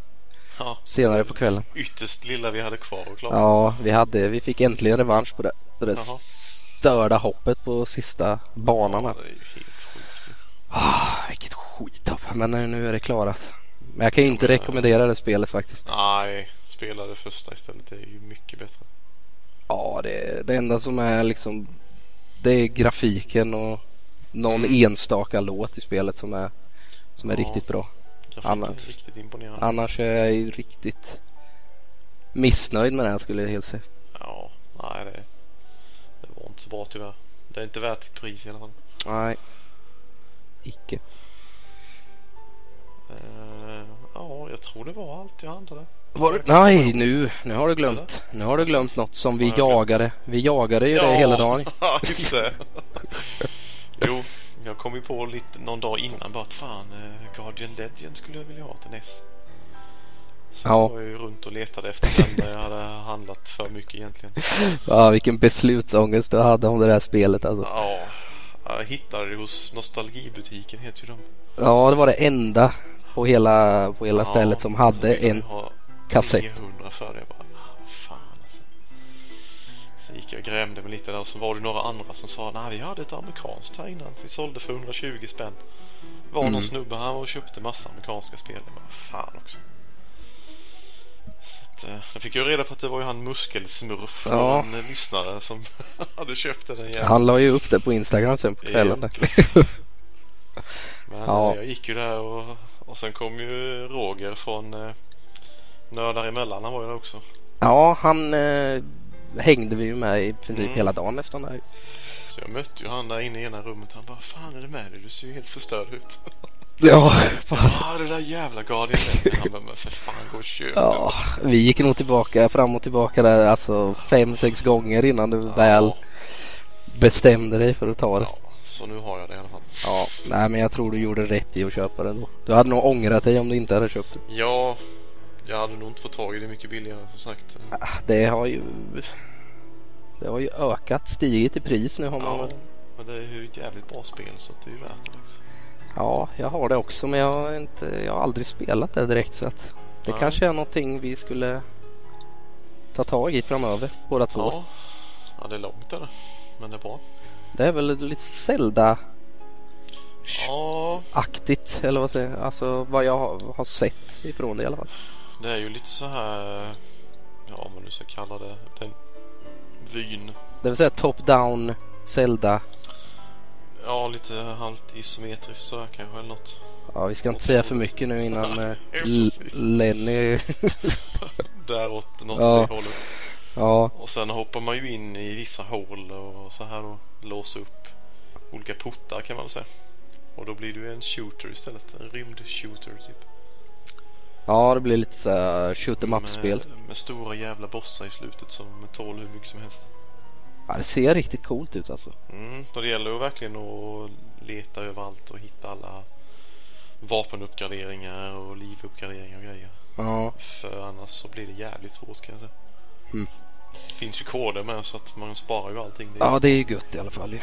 [SPEAKER 2] Ja,
[SPEAKER 1] Senare på kvällen.
[SPEAKER 2] ytterst lilla vi hade kvar att klara.
[SPEAKER 1] Ja, vi hade, vi fick äntligen revansch på det, det där
[SPEAKER 2] Jaha.
[SPEAKER 1] störda hoppet på sista banan här.
[SPEAKER 2] det är ju helt sjukt. ju.
[SPEAKER 1] Ah, vilket skithopp. Men nu- nu är det klarat. Men jag kan ju inte
[SPEAKER 2] men-
[SPEAKER 1] rekommendera det spelet faktiskt.
[SPEAKER 2] Nej, spela det första istället. Det är ju mycket bättre.
[SPEAKER 1] Ja, det, det enda som är liksom det är grafiken och någon enstaka låt i spelet som är, som är
[SPEAKER 2] Mm. Ja.
[SPEAKER 1] riktigt bra.
[SPEAKER 2] Grafiken
[SPEAKER 1] Annars-
[SPEAKER 2] är riktigt imponerande.
[SPEAKER 1] Annars är jag ju riktigt missnöjd med det här skulle jag helt säga.
[SPEAKER 2] Ja, nej det, det var inte så bra tyvärr. Det är inte värt sitt pris i alla fall.
[SPEAKER 1] Nej, icke.
[SPEAKER 2] Eh, ja, jag tror det var allt jag handlade.
[SPEAKER 1] Var det? Nej, nu, nu har du glömt. Nu har du glömt något som vi
[SPEAKER 2] Vad har jag glömt?
[SPEAKER 1] jagade. Vi jagade ju det hela
[SPEAKER 2] (laughs)
[SPEAKER 1] dagen.
[SPEAKER 2] just det. jo, jag kom ju på lite någon dag innan bara att fan, eh, Guardian Legend skulle jag vilja ha till NES. Så
[SPEAKER 1] Ja.
[SPEAKER 2] jag var ju runt och letade efter den när jag hade handlat för mycket egentligen.
[SPEAKER 1] Ja, vilken beslutsångest du hade om det där spelet alltså.
[SPEAKER 2] Ja, jag hittade det hos Nostalgibutiken heter ju de.
[SPEAKER 1] Ja, det var det enda på hela, på hela
[SPEAKER 2] Ja,
[SPEAKER 1] stället som
[SPEAKER 2] så
[SPEAKER 1] hade
[SPEAKER 2] ville jag
[SPEAKER 1] en
[SPEAKER 2] ha
[SPEAKER 1] kassett.
[SPEAKER 2] 300 för det. Jag bara, ah, vad fan alltså. Sen gick jag och grämde mig lite där och så var det några andra som sa nej vi hade ett amerikanskt här innan. Vi sålde för 120 spänn. Det var någon
[SPEAKER 1] Mm.
[SPEAKER 2] snubbe han var och köpte massa amerikanska spel. Jag bara, fan också. Så att, eh, jag fick ju reda på att det var ju han Muskelsmurf,
[SPEAKER 1] Ja.
[SPEAKER 2] en eh, lyssnare som (laughs) hade köpt den igen.
[SPEAKER 1] Han la ju upp det på Instagram sen på kvällen. där.
[SPEAKER 2] Eh, (laughs) Men
[SPEAKER 1] Ja.
[SPEAKER 2] eh, jag gick ju där och, och sen kom ju Roger från eh, Nördar emellan, han var ju där också.
[SPEAKER 1] Ja, han eh, hängde vi ju med i princip
[SPEAKER 2] Mm.
[SPEAKER 1] hela dagen efter den där.
[SPEAKER 2] Så jag mötte ju han där inne i ena rummet och han bara Vad fan är det med dig? Du ser ju helt
[SPEAKER 1] (laughs)
[SPEAKER 2] förstörd ut.
[SPEAKER 1] Ja,
[SPEAKER 2] Ja, det där jävla Guardian Angel." Han bara, men för fan gå och köp den."
[SPEAKER 1] ja, vi gick nog tillbaka fram och tillbaka där alltså fem, sex gånger innan du väl
[SPEAKER 2] Ja,
[SPEAKER 1] bestämde dig för att ta det.
[SPEAKER 2] ja, så nu har jag det i alla fall.
[SPEAKER 1] Ja, nej men jag tror du gjorde rätt i att köpa den då. Du hade nog ångrat dig om du inte hade köpt det.
[SPEAKER 2] Ja, jag hade nog inte fått tag i det mycket billigare som sagt.
[SPEAKER 1] Ah, Det har ju... Det har ju ökat, stigit i pris nu har man
[SPEAKER 2] Ja,
[SPEAKER 1] väl.
[SPEAKER 2] men det är ju ett jävligt bra spel så att det är ju värt det. Liksom.
[SPEAKER 1] Ja, jag har det också men jag har, inte, jag har aldrig spelat det direkt så att det
[SPEAKER 2] Nej.
[SPEAKER 1] kanske är någonting vi skulle ta tag i framöver båda två.
[SPEAKER 2] Ja. ja, det är långt där. Men det är bra.
[SPEAKER 1] Det är väl lite Zelda-aktigt
[SPEAKER 2] Ja,
[SPEAKER 1] eller vad säger jag? Alltså vad jag har har sett ifrån det i alla fall.
[SPEAKER 2] det är ju lite så här. Ja, om man nu ska kalla det den vyn.
[SPEAKER 1] Det vill säga top-down Zelda.
[SPEAKER 2] Ja, lite halvt isometriskt så här kanske eller något.
[SPEAKER 1] Ja, vi ska inte säga för mycket nu innan eh, L-
[SPEAKER 2] precis.
[SPEAKER 1] Lenny... (laughs)
[SPEAKER 2] Däråt något
[SPEAKER 1] Ja.
[SPEAKER 2] åt det hållet.
[SPEAKER 1] Ja,
[SPEAKER 2] Och sen hoppar man ju in i vissa hål och så här och låser upp olika portar kan man väl säga. Och då blir det ju en shooter istället. En rymdshooter typ.
[SPEAKER 1] ja det blir lite så här shoot em up-spel.
[SPEAKER 2] Med, med stora jävla bossar i slutet som tål hur mycket som helst.
[SPEAKER 1] Ja, det ser riktigt coolt ut alltså.
[SPEAKER 2] Mm, då det gäller ju verkligen att leta överallt och hitta alla vapenuppgraderingar och livuppgraderingar och grejer.
[SPEAKER 1] Ja,
[SPEAKER 2] För annars så blir det jävligt svårt kan jag säga.
[SPEAKER 1] Mm.
[SPEAKER 2] Finns ju koder med så att man sparar ju allting. Det,
[SPEAKER 1] ja det är ju gött i alla fall ju.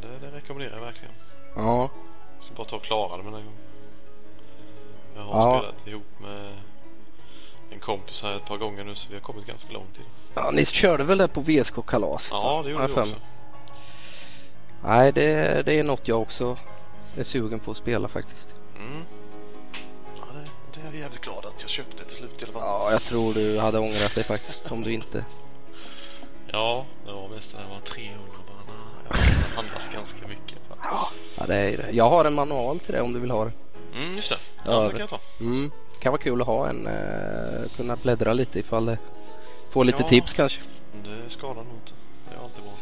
[SPEAKER 2] det, det rekommenderar jag verkligen.
[SPEAKER 1] Ja,
[SPEAKER 2] Jag ska bara ta och klara det med den gången. Jag har
[SPEAKER 1] Ja.
[SPEAKER 2] spelat ihop med en kompis här ett par gånger nu så vi har kommit ganska långt i det.
[SPEAKER 1] ja ni körde väl det på VSK-kalaset?
[SPEAKER 2] Ja, det gjorde
[SPEAKER 1] har
[SPEAKER 2] vi
[SPEAKER 1] jag för mig.
[SPEAKER 2] också.
[SPEAKER 1] Nej, det, det är något jag också är sugen på att spela faktiskt.
[SPEAKER 2] Mm. Ja, det, det är jag jävligt glad att jag köpte till slut i alla fall.
[SPEAKER 1] Ja, jag tror du hade ångrat dig faktiskt om du inte...
[SPEAKER 2] Ja, det var mest det där var 300 bara. nej, Jag har handlat ganska mycket.
[SPEAKER 1] Ja, det är ju det. Jag har en manual till det om du vill ha det.
[SPEAKER 2] Mm, just det.
[SPEAKER 1] Ja,
[SPEAKER 2] Ja, det
[SPEAKER 1] det-
[SPEAKER 2] kan jag ta.
[SPEAKER 1] Mm. Kan vara kul att ha en, eh, kunna bläddra lite ifall det... Få lite
[SPEAKER 2] Ja.
[SPEAKER 1] tips kanske.
[SPEAKER 2] Det skadar nog inte. Det är alltid bra.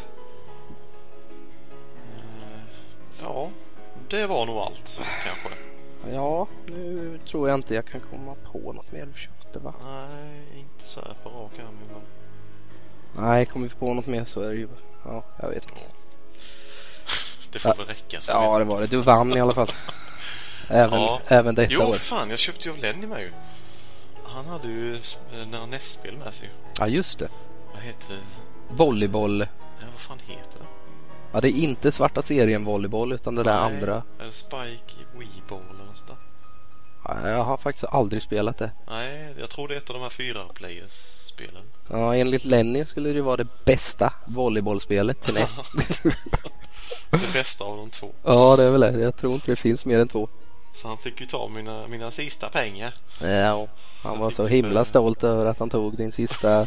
[SPEAKER 2] Eh, Ja, det var nog allt kanske.
[SPEAKER 1] Ja, nu tror jag inte jag kan komma på något mer du köpte va?
[SPEAKER 2] Nej, inte så här på rak arm. Men...
[SPEAKER 1] Nej, kommer vi på något mer så är det ju... Ja, jag vet inte.
[SPEAKER 2] Det får
[SPEAKER 1] Ja.
[SPEAKER 2] väl räcka. Så
[SPEAKER 1] Ja, det var det. Du vann i alla fall. Även,
[SPEAKER 2] Ja.
[SPEAKER 1] även detta
[SPEAKER 2] Jo,
[SPEAKER 1] år.
[SPEAKER 2] fan, jag köpte ju av Lenny med ju. Han hade ju eh, några nästspel med sig. ju.
[SPEAKER 1] Ja, just det.
[SPEAKER 2] Vad heter det?
[SPEAKER 1] Volleyboll.
[SPEAKER 2] Ja, vad fan heter det?
[SPEAKER 1] Ja, det är inte svarta serien volleyboll utan det där
[SPEAKER 2] Nej.
[SPEAKER 1] andra.
[SPEAKER 2] Är det Spike i Weeball eller något sånt där?
[SPEAKER 1] Ja, jag har faktiskt aldrig spelat det.
[SPEAKER 2] Nej, jag tror det är ett av de här fyra players-spelen.
[SPEAKER 1] Ja, enligt Lenny skulle det vara det bästa volleybollspelet (laughs) till näst.
[SPEAKER 2] Det bästa av de två.
[SPEAKER 1] ja, det är väl det. Jag tror inte det finns mer än två.
[SPEAKER 2] Så han fick ju ta mina, mina sista pengar.
[SPEAKER 1] Ja, han var så himla stolt över att han tog din sista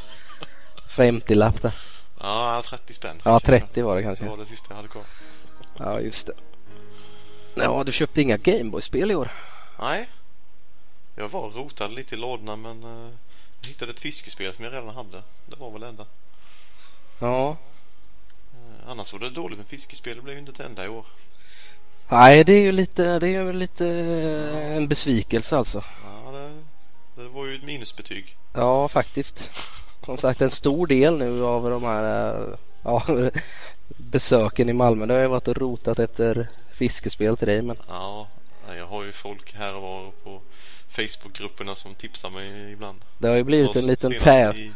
[SPEAKER 1] 50-lapp där.
[SPEAKER 2] Ja, 30 spänn.
[SPEAKER 1] Ja, 30 var det
[SPEAKER 2] Det var
[SPEAKER 1] kanske.
[SPEAKER 2] det sista jag hade kvar.
[SPEAKER 1] Ja, just det. Ja, du köpte inga Gameboy-spel i år.
[SPEAKER 2] Nej. Jag var och rotade lite i lådorna men eh, jag hittade ett fiskespel som jag redan hade. Det var väl det enda.
[SPEAKER 1] Ja.
[SPEAKER 2] Eh, annars var det dåligt med fiskespel. Det blev ju inte ett enda i år.
[SPEAKER 1] Nej, det är ju lite, det är ju lite eh, en besvikelse alltså.
[SPEAKER 2] Ja, det, det var ju ett minusbetyg.
[SPEAKER 1] Ja, faktiskt. Som sagt, en stor del nu av de här eh, ja, (laughs) besöken i Malmö. Det har jag varit och rotat efter fiskespel till dig. Men
[SPEAKER 2] Ja, jag har ju folk här och var på Facebookgrupperna som tipsar mig ibland.
[SPEAKER 1] det har ju blivit
[SPEAKER 2] Och
[SPEAKER 1] en liten
[SPEAKER 2] senast
[SPEAKER 1] täv.
[SPEAKER 2] i-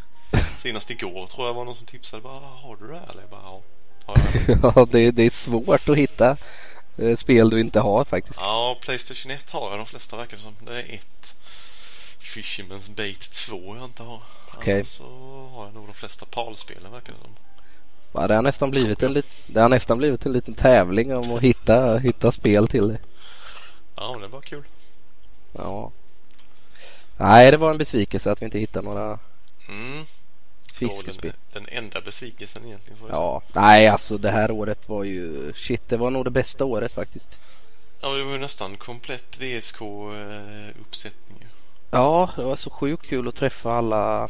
[SPEAKER 2] Senast igår tror jag var någon som tipsade bara "Ah, har du det här? eller?" Jag bara ja. Har jag
[SPEAKER 1] (laughs)
[SPEAKER 2] det?"
[SPEAKER 1] Ja, det, det är svårt att hitta eh, spel du inte har faktiskt.
[SPEAKER 2] Ja, Playstation 1 har jag de flesta verkar det som. Det är ett. Fisherman's Bait 2 jag inte har.
[SPEAKER 1] Okej.
[SPEAKER 2] Annars så har jag nog de flesta PAL-spelen verkar det som.
[SPEAKER 1] Ja, det, har nästan blivit en lit, det har nästan blivit en liten tävling om att hitta, hitta spel till dig.
[SPEAKER 2] Ja, men det var kul.
[SPEAKER 1] Ja. Nej, det var en besvikelse att vi inte hittade några
[SPEAKER 2] Mm.
[SPEAKER 1] fiskespett.
[SPEAKER 2] Den, den enda besvikelsen egentligen. Får jag
[SPEAKER 1] Ja, nej alltså det här året var ju shit. Det var nog det bästa året faktiskt.
[SPEAKER 2] säga. ja, det var ju nästan komplett eh, VSK-uppsättning. ju.
[SPEAKER 1] Ja, det var så sjukt kul att träffa alla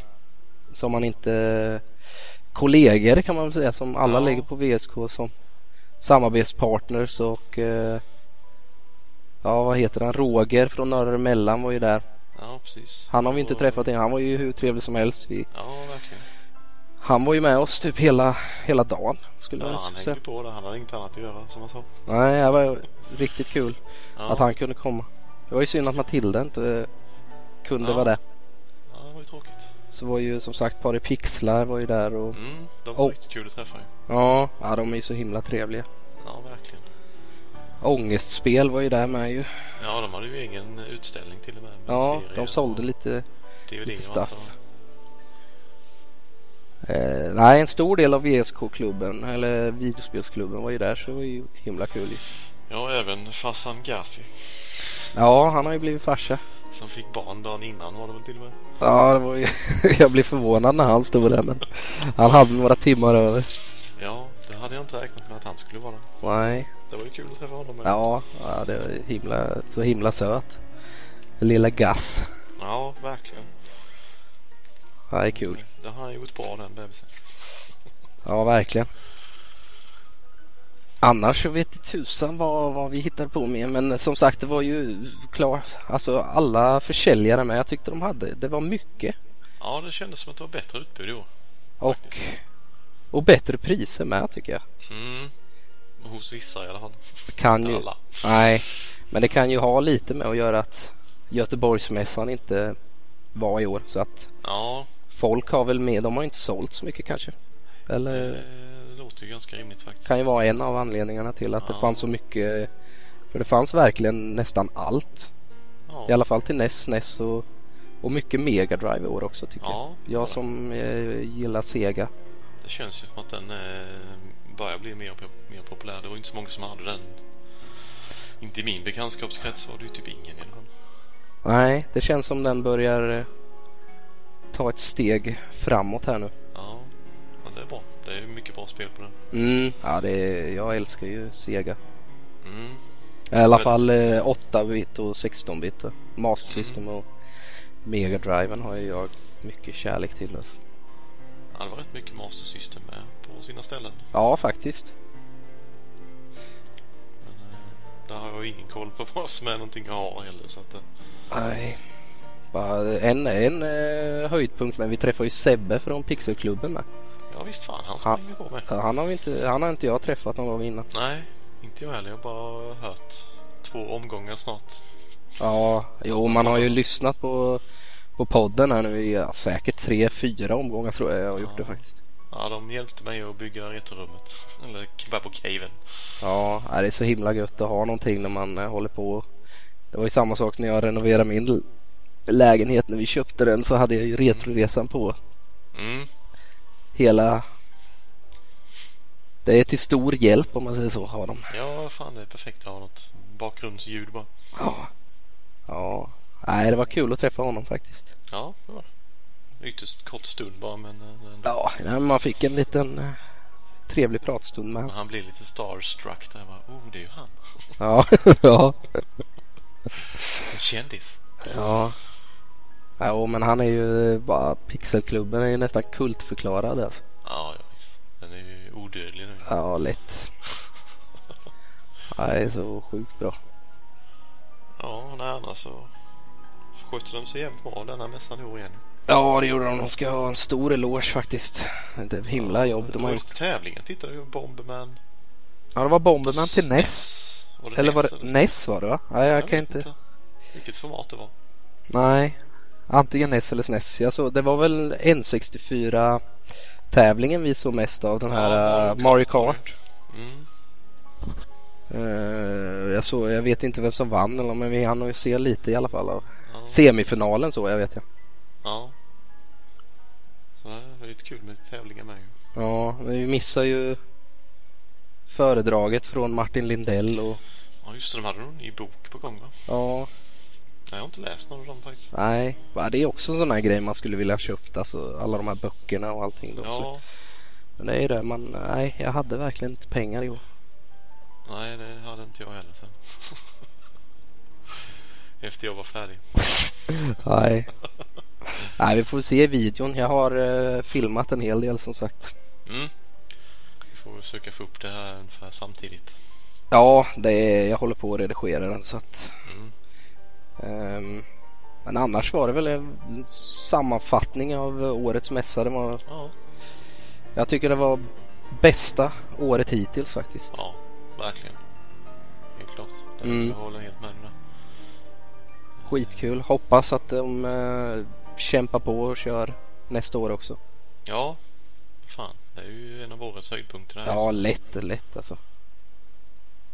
[SPEAKER 1] som man inte... Kollegor kan man väl säga som alla
[SPEAKER 2] Ja.
[SPEAKER 1] lägger på VSK som samarbetspartners och... eh, Ja, vad heter han? Roger från Norra Mellan var ju där.
[SPEAKER 2] Ja, precis.
[SPEAKER 1] Han har vi inte
[SPEAKER 2] Och-
[SPEAKER 1] träffat än. Han var ju hur trevlig som helst. Vi,
[SPEAKER 2] Ja, verkligen.
[SPEAKER 1] han var ju med oss typ hela, hela dagen skulle
[SPEAKER 2] Ja,
[SPEAKER 1] jag
[SPEAKER 2] han hängde
[SPEAKER 1] säga.
[SPEAKER 2] ju på där. Han hade inget annat att göra som han sa.
[SPEAKER 1] Nej, det var riktigt kul
[SPEAKER 2] Ja,
[SPEAKER 1] att han kunde komma. Det var ju synd att Matilda inte eh, kunde
[SPEAKER 2] Ja.
[SPEAKER 1] vara där.
[SPEAKER 2] ja det var ju tråkigt.
[SPEAKER 1] Så var ju som sagt Pari Pixlar var ju där och
[SPEAKER 2] Mm, de var
[SPEAKER 1] Oh.
[SPEAKER 2] riktigt kul att träffa ju.
[SPEAKER 1] ja, ja de är ju så himla trevliga.
[SPEAKER 2] Ja, verkligen.
[SPEAKER 1] Ångestspel var ju där med ju.
[SPEAKER 2] Ja, de hade ju egen utställning till och med. med
[SPEAKER 1] Ja,
[SPEAKER 2] serier
[SPEAKER 1] de sålde
[SPEAKER 2] och
[SPEAKER 1] lite,
[SPEAKER 2] DVD
[SPEAKER 1] lite
[SPEAKER 2] och allt
[SPEAKER 1] stuff. Eh, nej, en stor del av VSK-klubben eller videospelsklubben var ju där så det var ju himla kul ju.
[SPEAKER 2] Ja, även Fassan Ghazi
[SPEAKER 1] Ja, han har ju blivit farsa.
[SPEAKER 2] som fick barn dagen innan var det väl till och med.
[SPEAKER 1] Ja, det var ju... (laughs) jag blev förvånad när han stod där men han hade några timmar över.
[SPEAKER 2] Ja, det hade jag inte räknat med att han skulle vara där.
[SPEAKER 1] Nej,
[SPEAKER 2] Det var ju kul att träffa honom med.
[SPEAKER 1] ja, ja det var himla, så himla söt. Lilla Gass.
[SPEAKER 2] ja verkligen.
[SPEAKER 1] Ja, det är kul.
[SPEAKER 2] Det har han gjort bra den bebisen.
[SPEAKER 1] Ja, verkligen. Annars så vet jag tusan vad, vad vi hittade på med. Men som sagt, det var ju klart. Alltså alla försäljare med. Jag tyckte de hade. Det var mycket.
[SPEAKER 2] Ja, det kändes som att det var bättre utbud i år.
[SPEAKER 1] Och, och bättre priser med tycker jag.
[SPEAKER 2] Mm. Hos vissa i alla fall.
[SPEAKER 1] Kan
[SPEAKER 2] Inte
[SPEAKER 1] ju,
[SPEAKER 2] alla.
[SPEAKER 1] nej, men det kan ju ha lite med att göra att Göteborgsmässan inte var i år. Så att
[SPEAKER 2] Ja,
[SPEAKER 1] folk har väl med. De har inte sålt så mycket kanske. Eller
[SPEAKER 2] eh, det låter ju ganska rimligt faktiskt.
[SPEAKER 1] kan ju vara en av anledningarna till att det
[SPEAKER 2] Ja.
[SPEAKER 1] fanns så mycket. För det fanns verkligen nästan allt.
[SPEAKER 2] Ja,
[SPEAKER 1] I alla fall till E NES, NES och, och mycket Mega Drive i år också tycker
[SPEAKER 2] ja
[SPEAKER 1] jag. Jag som eh, gillar Sega.
[SPEAKER 2] det känns ju som att den eh, börjar bli mer, pop- mer populär. Det var ju inte så många som hade den. Inte i min bekantskapskrets var det ju typ ingen i alla fall.
[SPEAKER 1] Nej, det känns som den börjar eh, ta ett steg framåt här nu.
[SPEAKER 2] Ja, men det är bra. Det är ju mycket bra spel på den.
[SPEAKER 1] Mm, ja, det, jag älskar ju Sega.
[SPEAKER 2] Mm.
[SPEAKER 1] I alla
[SPEAKER 2] Men- Mm.
[SPEAKER 1] fall eh, 8-bit och 16-bit. eh. Master System och Mega Driven har ju jag mycket kärlek till. Alltså.
[SPEAKER 2] Ja, det var rätt mycket Master System med på sina ställen.
[SPEAKER 1] Ja, faktiskt.
[SPEAKER 2] Men, eh, där har jag ingen koll på (laughs) vad som är någonting jag har heller. Så att, eh,
[SPEAKER 1] Nej. Bara en, en eh, höjdpunkt, men vi träffar ju Sebbe från Pixelklubben med.
[SPEAKER 2] ja visst fan, han
[SPEAKER 1] Ja.
[SPEAKER 2] springer vi på med.
[SPEAKER 1] Ja, Han har, vi inte, han har inte jag träffat någon gång innan.
[SPEAKER 2] Nej, inte jag heller. Jag har bara hört två omgångar snart.
[SPEAKER 1] Ja, jo man har ju lyssnat på, på podden här nu i ja, säkert tre, fyra omgångar tror jag jag har gjort det
[SPEAKER 2] Ja.
[SPEAKER 1] faktiskt.
[SPEAKER 2] Ja, de hjälpte mig att bygga retorummet. (laughs) Eller Kebab och Caven.
[SPEAKER 1] Ja, nej, det är så himla gött att ha någonting när man eh, håller på. Det var ju samma sak när jag renoverade min l- lägenhet. När vi köpte den så hade jag ju Retroresan på
[SPEAKER 2] Mm.
[SPEAKER 1] hela. Det är till stor hjälp om man säger så, har de.
[SPEAKER 2] Ja, fan det är perfekt att ha något bakgrundsljud bara.
[SPEAKER 1] Ja. Ja, nej det var kul att träffa honom faktiskt.
[SPEAKER 2] Ja, det var det. Ytterst kort stund bara men eh, ändå.
[SPEAKER 1] Ja, nej, men man fick en liten eh, trevlig pratstund med honom.
[SPEAKER 2] han blir lite starstruck där bara. Oh, det är ju han.
[SPEAKER 1] Ja, (laughs) ja.
[SPEAKER 2] En kändis.
[SPEAKER 1] ja. Ja, och men han är ju bara, Pixelklubben är ju nästan kultförklarad alltså.
[SPEAKER 2] Ja, ja visst. Den är ju odödlig nu.
[SPEAKER 1] Ja, lätt. Ja, det är så sjukt bra.
[SPEAKER 2] Ja, nej annars så skötte de sig jävligt bra den här mässan i år igen.
[SPEAKER 1] Ja, det gjorde de. De ska ha en stor eloge faktiskt. Det är ett himla jobb
[SPEAKER 2] Det
[SPEAKER 1] de
[SPEAKER 2] var
[SPEAKER 1] har
[SPEAKER 2] ju
[SPEAKER 1] gjort.
[SPEAKER 2] lite tävlingar tittade ju. Bomberman.
[SPEAKER 1] Ja, det var Bomberman till NES.
[SPEAKER 2] Var det
[SPEAKER 1] Eller var
[SPEAKER 2] NES
[SPEAKER 1] det NES var det va? Nej, jag kan
[SPEAKER 2] vet
[SPEAKER 1] inte.
[SPEAKER 2] Vilket format det var.
[SPEAKER 1] Nej, antingen NES eller SNES. Jag såg, det var väl N64 tävlingen vi såg mest av den här eh, Mario Kart.
[SPEAKER 2] Mm.
[SPEAKER 1] Eh, jag, såg, jag vet inte vem som vann eller men vi hann ju se lite i alla fall av
[SPEAKER 2] Ja.
[SPEAKER 1] semifinalen så jag vet jag.
[SPEAKER 2] ja. Så det är lite kul med tävlingar med ju.
[SPEAKER 1] Ja, men vi missar ju föredraget från Martin Lindell och
[SPEAKER 2] Ja just det, de hade någon ny bok på gång va?
[SPEAKER 1] ja,
[SPEAKER 2] Nej, jag har inte läst någon av dem faktiskt.
[SPEAKER 1] Nej, va, det är också en sån här grej man skulle vilja ha köpt. Alltså alla de här böckerna och allting. Då, så.
[SPEAKER 2] Ja,
[SPEAKER 1] Men det är ju det. Man, nej, jag hade verkligen inte pengar i år.
[SPEAKER 2] nej det hade inte jag heller sen. (laughs) Efter jag var färdig.
[SPEAKER 1] Nej. nej, vi får se videon. Jag har eh, filmat en hel del som sagt.
[SPEAKER 2] Mm. Vi får väl försöka få upp det här ungefär samtidigt.
[SPEAKER 1] Ja, det är, jag håller på att redigera den så att.
[SPEAKER 2] Mm.
[SPEAKER 1] ehm, men annars var det väl en sammanfattning av eh, årets mässa. Det var,
[SPEAKER 2] Ja,
[SPEAKER 1] jag tycker det var bästa året hittills faktiskt.
[SPEAKER 2] ja verkligen. Helt klart. Det,
[SPEAKER 1] Mm.
[SPEAKER 2] Jag håller helt med dig där.
[SPEAKER 1] Skitkul. Hoppas att de eh, kämpar på och kör nästa år också.
[SPEAKER 2] Ja, fan. Det är ju en av årets höjdpunkter det här.
[SPEAKER 1] Ja, lätt, lätt alltså.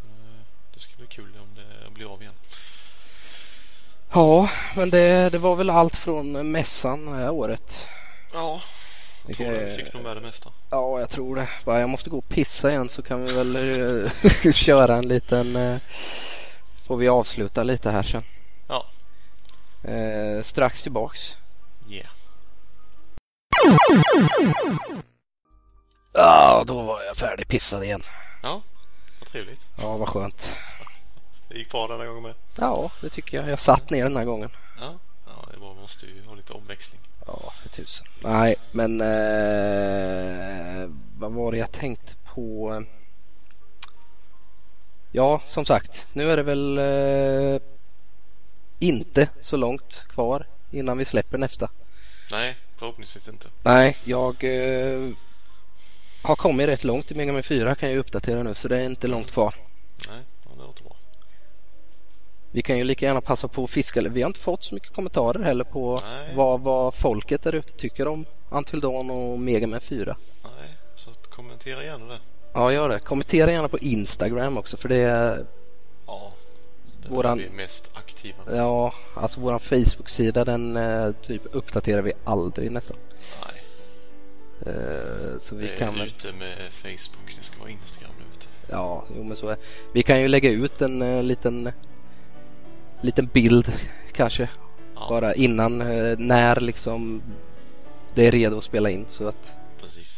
[SPEAKER 2] Eh, Det skulle bli kul om det blir av igen.
[SPEAKER 1] Ja, men det, det var väl allt från mässan det här året.
[SPEAKER 2] Ja,
[SPEAKER 1] Det
[SPEAKER 2] jag tror
[SPEAKER 1] kan-
[SPEAKER 2] du fick nog med det mesta.
[SPEAKER 1] Ja, jag tror det. Bara jag måste gå och pissa igen så kan vi väl eh, (laughs) köra en liten... eh, Får vi avsluta lite här sen.
[SPEAKER 2] Ja.
[SPEAKER 1] Eh, strax tillbaks.
[SPEAKER 2] Yeah.
[SPEAKER 1] Ja, då var jag färdig pissad igen.
[SPEAKER 2] Vad trevligt.
[SPEAKER 1] Ja, vad skönt.
[SPEAKER 2] Det gick bra den här gången med.
[SPEAKER 1] Ja, det tycker jag. Jag satt ner den här gången.
[SPEAKER 2] Ja, ja det är bra. Man måste ju ha lite omväxling.
[SPEAKER 1] Ja, för tusen. Nej, men eh, vad var det jag tänkte på? Ja, som sagt, nu är det väl eh, inte så långt kvar innan vi släpper nästa.
[SPEAKER 2] Nej, förhoppningsvis inte.
[SPEAKER 1] Nej, jag eh, har kommit rätt långt i Mega Man 4 kan jag ju uppdatera nu så det är inte långt kvar.
[SPEAKER 2] Nej, ja, det låter bra.
[SPEAKER 1] Vi kan ju lika gärna passa på att fiska. Vi har inte fått så mycket kommentarer heller på
[SPEAKER 2] Nej.
[SPEAKER 1] vad, vad folket där ute tycker om Until Dawn och Mega Man 4.
[SPEAKER 2] Nej, så att kommentera gärna det.
[SPEAKER 1] Ja, gör det. Kommentera gärna på Instagram också för det är,
[SPEAKER 2] Ja, det
[SPEAKER 1] Våran-
[SPEAKER 2] Våran... är vi mest aktiva.
[SPEAKER 1] ja, alltså våran Facebook-sida den eh, typ uppdaterar vi aldrig nästan.
[SPEAKER 2] Nej,
[SPEAKER 1] Eh, så vi
[SPEAKER 2] det
[SPEAKER 1] kan
[SPEAKER 2] är
[SPEAKER 1] väl,
[SPEAKER 2] ute med Facebook. Det ska vara Instagram nu vet du.
[SPEAKER 1] ja, jo men så är Vi kan ju lägga ut en eh, liten, liten bild kanske
[SPEAKER 2] Ja,
[SPEAKER 1] bara innan, eh, när liksom det är redo att spela in så att
[SPEAKER 2] precis.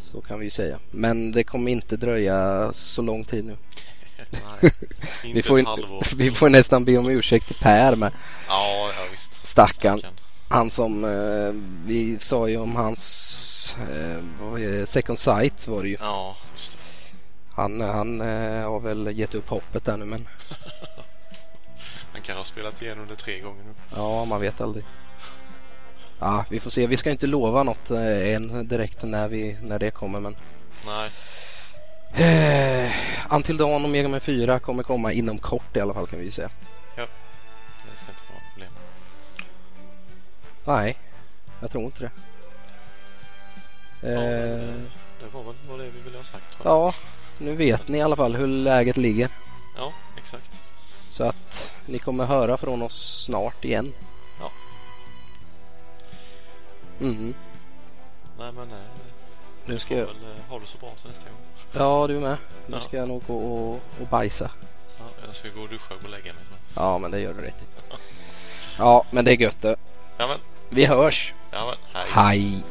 [SPEAKER 1] så kan vi ju säga. Men det kommer inte dröja så lång tid nu.
[SPEAKER 2] Nej, (laughs) inte
[SPEAKER 1] Vi får,
[SPEAKER 2] ett
[SPEAKER 1] ju-
[SPEAKER 2] halvår.
[SPEAKER 1] (laughs) vi får ju nästan be om ursäkt till Per med
[SPEAKER 2] Ja, ja visst.
[SPEAKER 1] stackarn. Han som eh, vi sa ju om hans eh, vad är det? second sight var det ju.
[SPEAKER 2] Ja, just det.
[SPEAKER 1] Han, han eh, har väl gett upp hoppet där nu men
[SPEAKER 2] Han kan ha spelat igenom det tre gånger nu.
[SPEAKER 1] ja man vet aldrig. Ja vi får se. Vi ska inte lova något eh, än direkt när, vi, när det kommer men.
[SPEAKER 2] Nej,
[SPEAKER 1] Eh, Until Dawn och Mega Man 4 kommer komma inom kort i alla fall kan vi ju säga.
[SPEAKER 2] det ska inte vara något problem.
[SPEAKER 1] Nej, jag tror inte det.
[SPEAKER 2] Ja,
[SPEAKER 1] Eh,
[SPEAKER 2] men, eh, det var väl vad det vi ville ha sagt tror jag.
[SPEAKER 1] ja, nu vet ni i alla fall hur läget ligger.
[SPEAKER 2] Ja, exakt.
[SPEAKER 1] Så att ni kommer höra från oss snart igen.
[SPEAKER 2] Ja.
[SPEAKER 1] Mm,
[SPEAKER 2] Nej men eh,
[SPEAKER 1] nu ska
[SPEAKER 2] får
[SPEAKER 1] jag...
[SPEAKER 2] väl, eh, ha det så bra till nästa gång.
[SPEAKER 1] Ja, du med. Nu
[SPEAKER 2] Ja.
[SPEAKER 1] ska jag nog gå och, och bajsa.
[SPEAKER 2] Ja, jag ska gå och duscha och gå och lägga mig. men-
[SPEAKER 1] Ja, men det gör du rätt i. Ja, men det är gött det.
[SPEAKER 2] Ja men,
[SPEAKER 1] Vi hörs.
[SPEAKER 2] ja men, hej.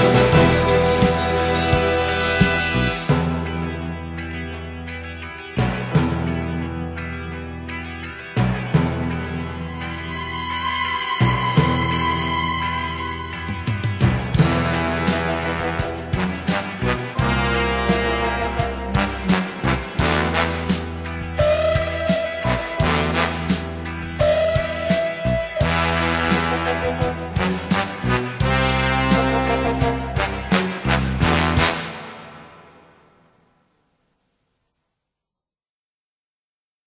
[SPEAKER 1] Hej!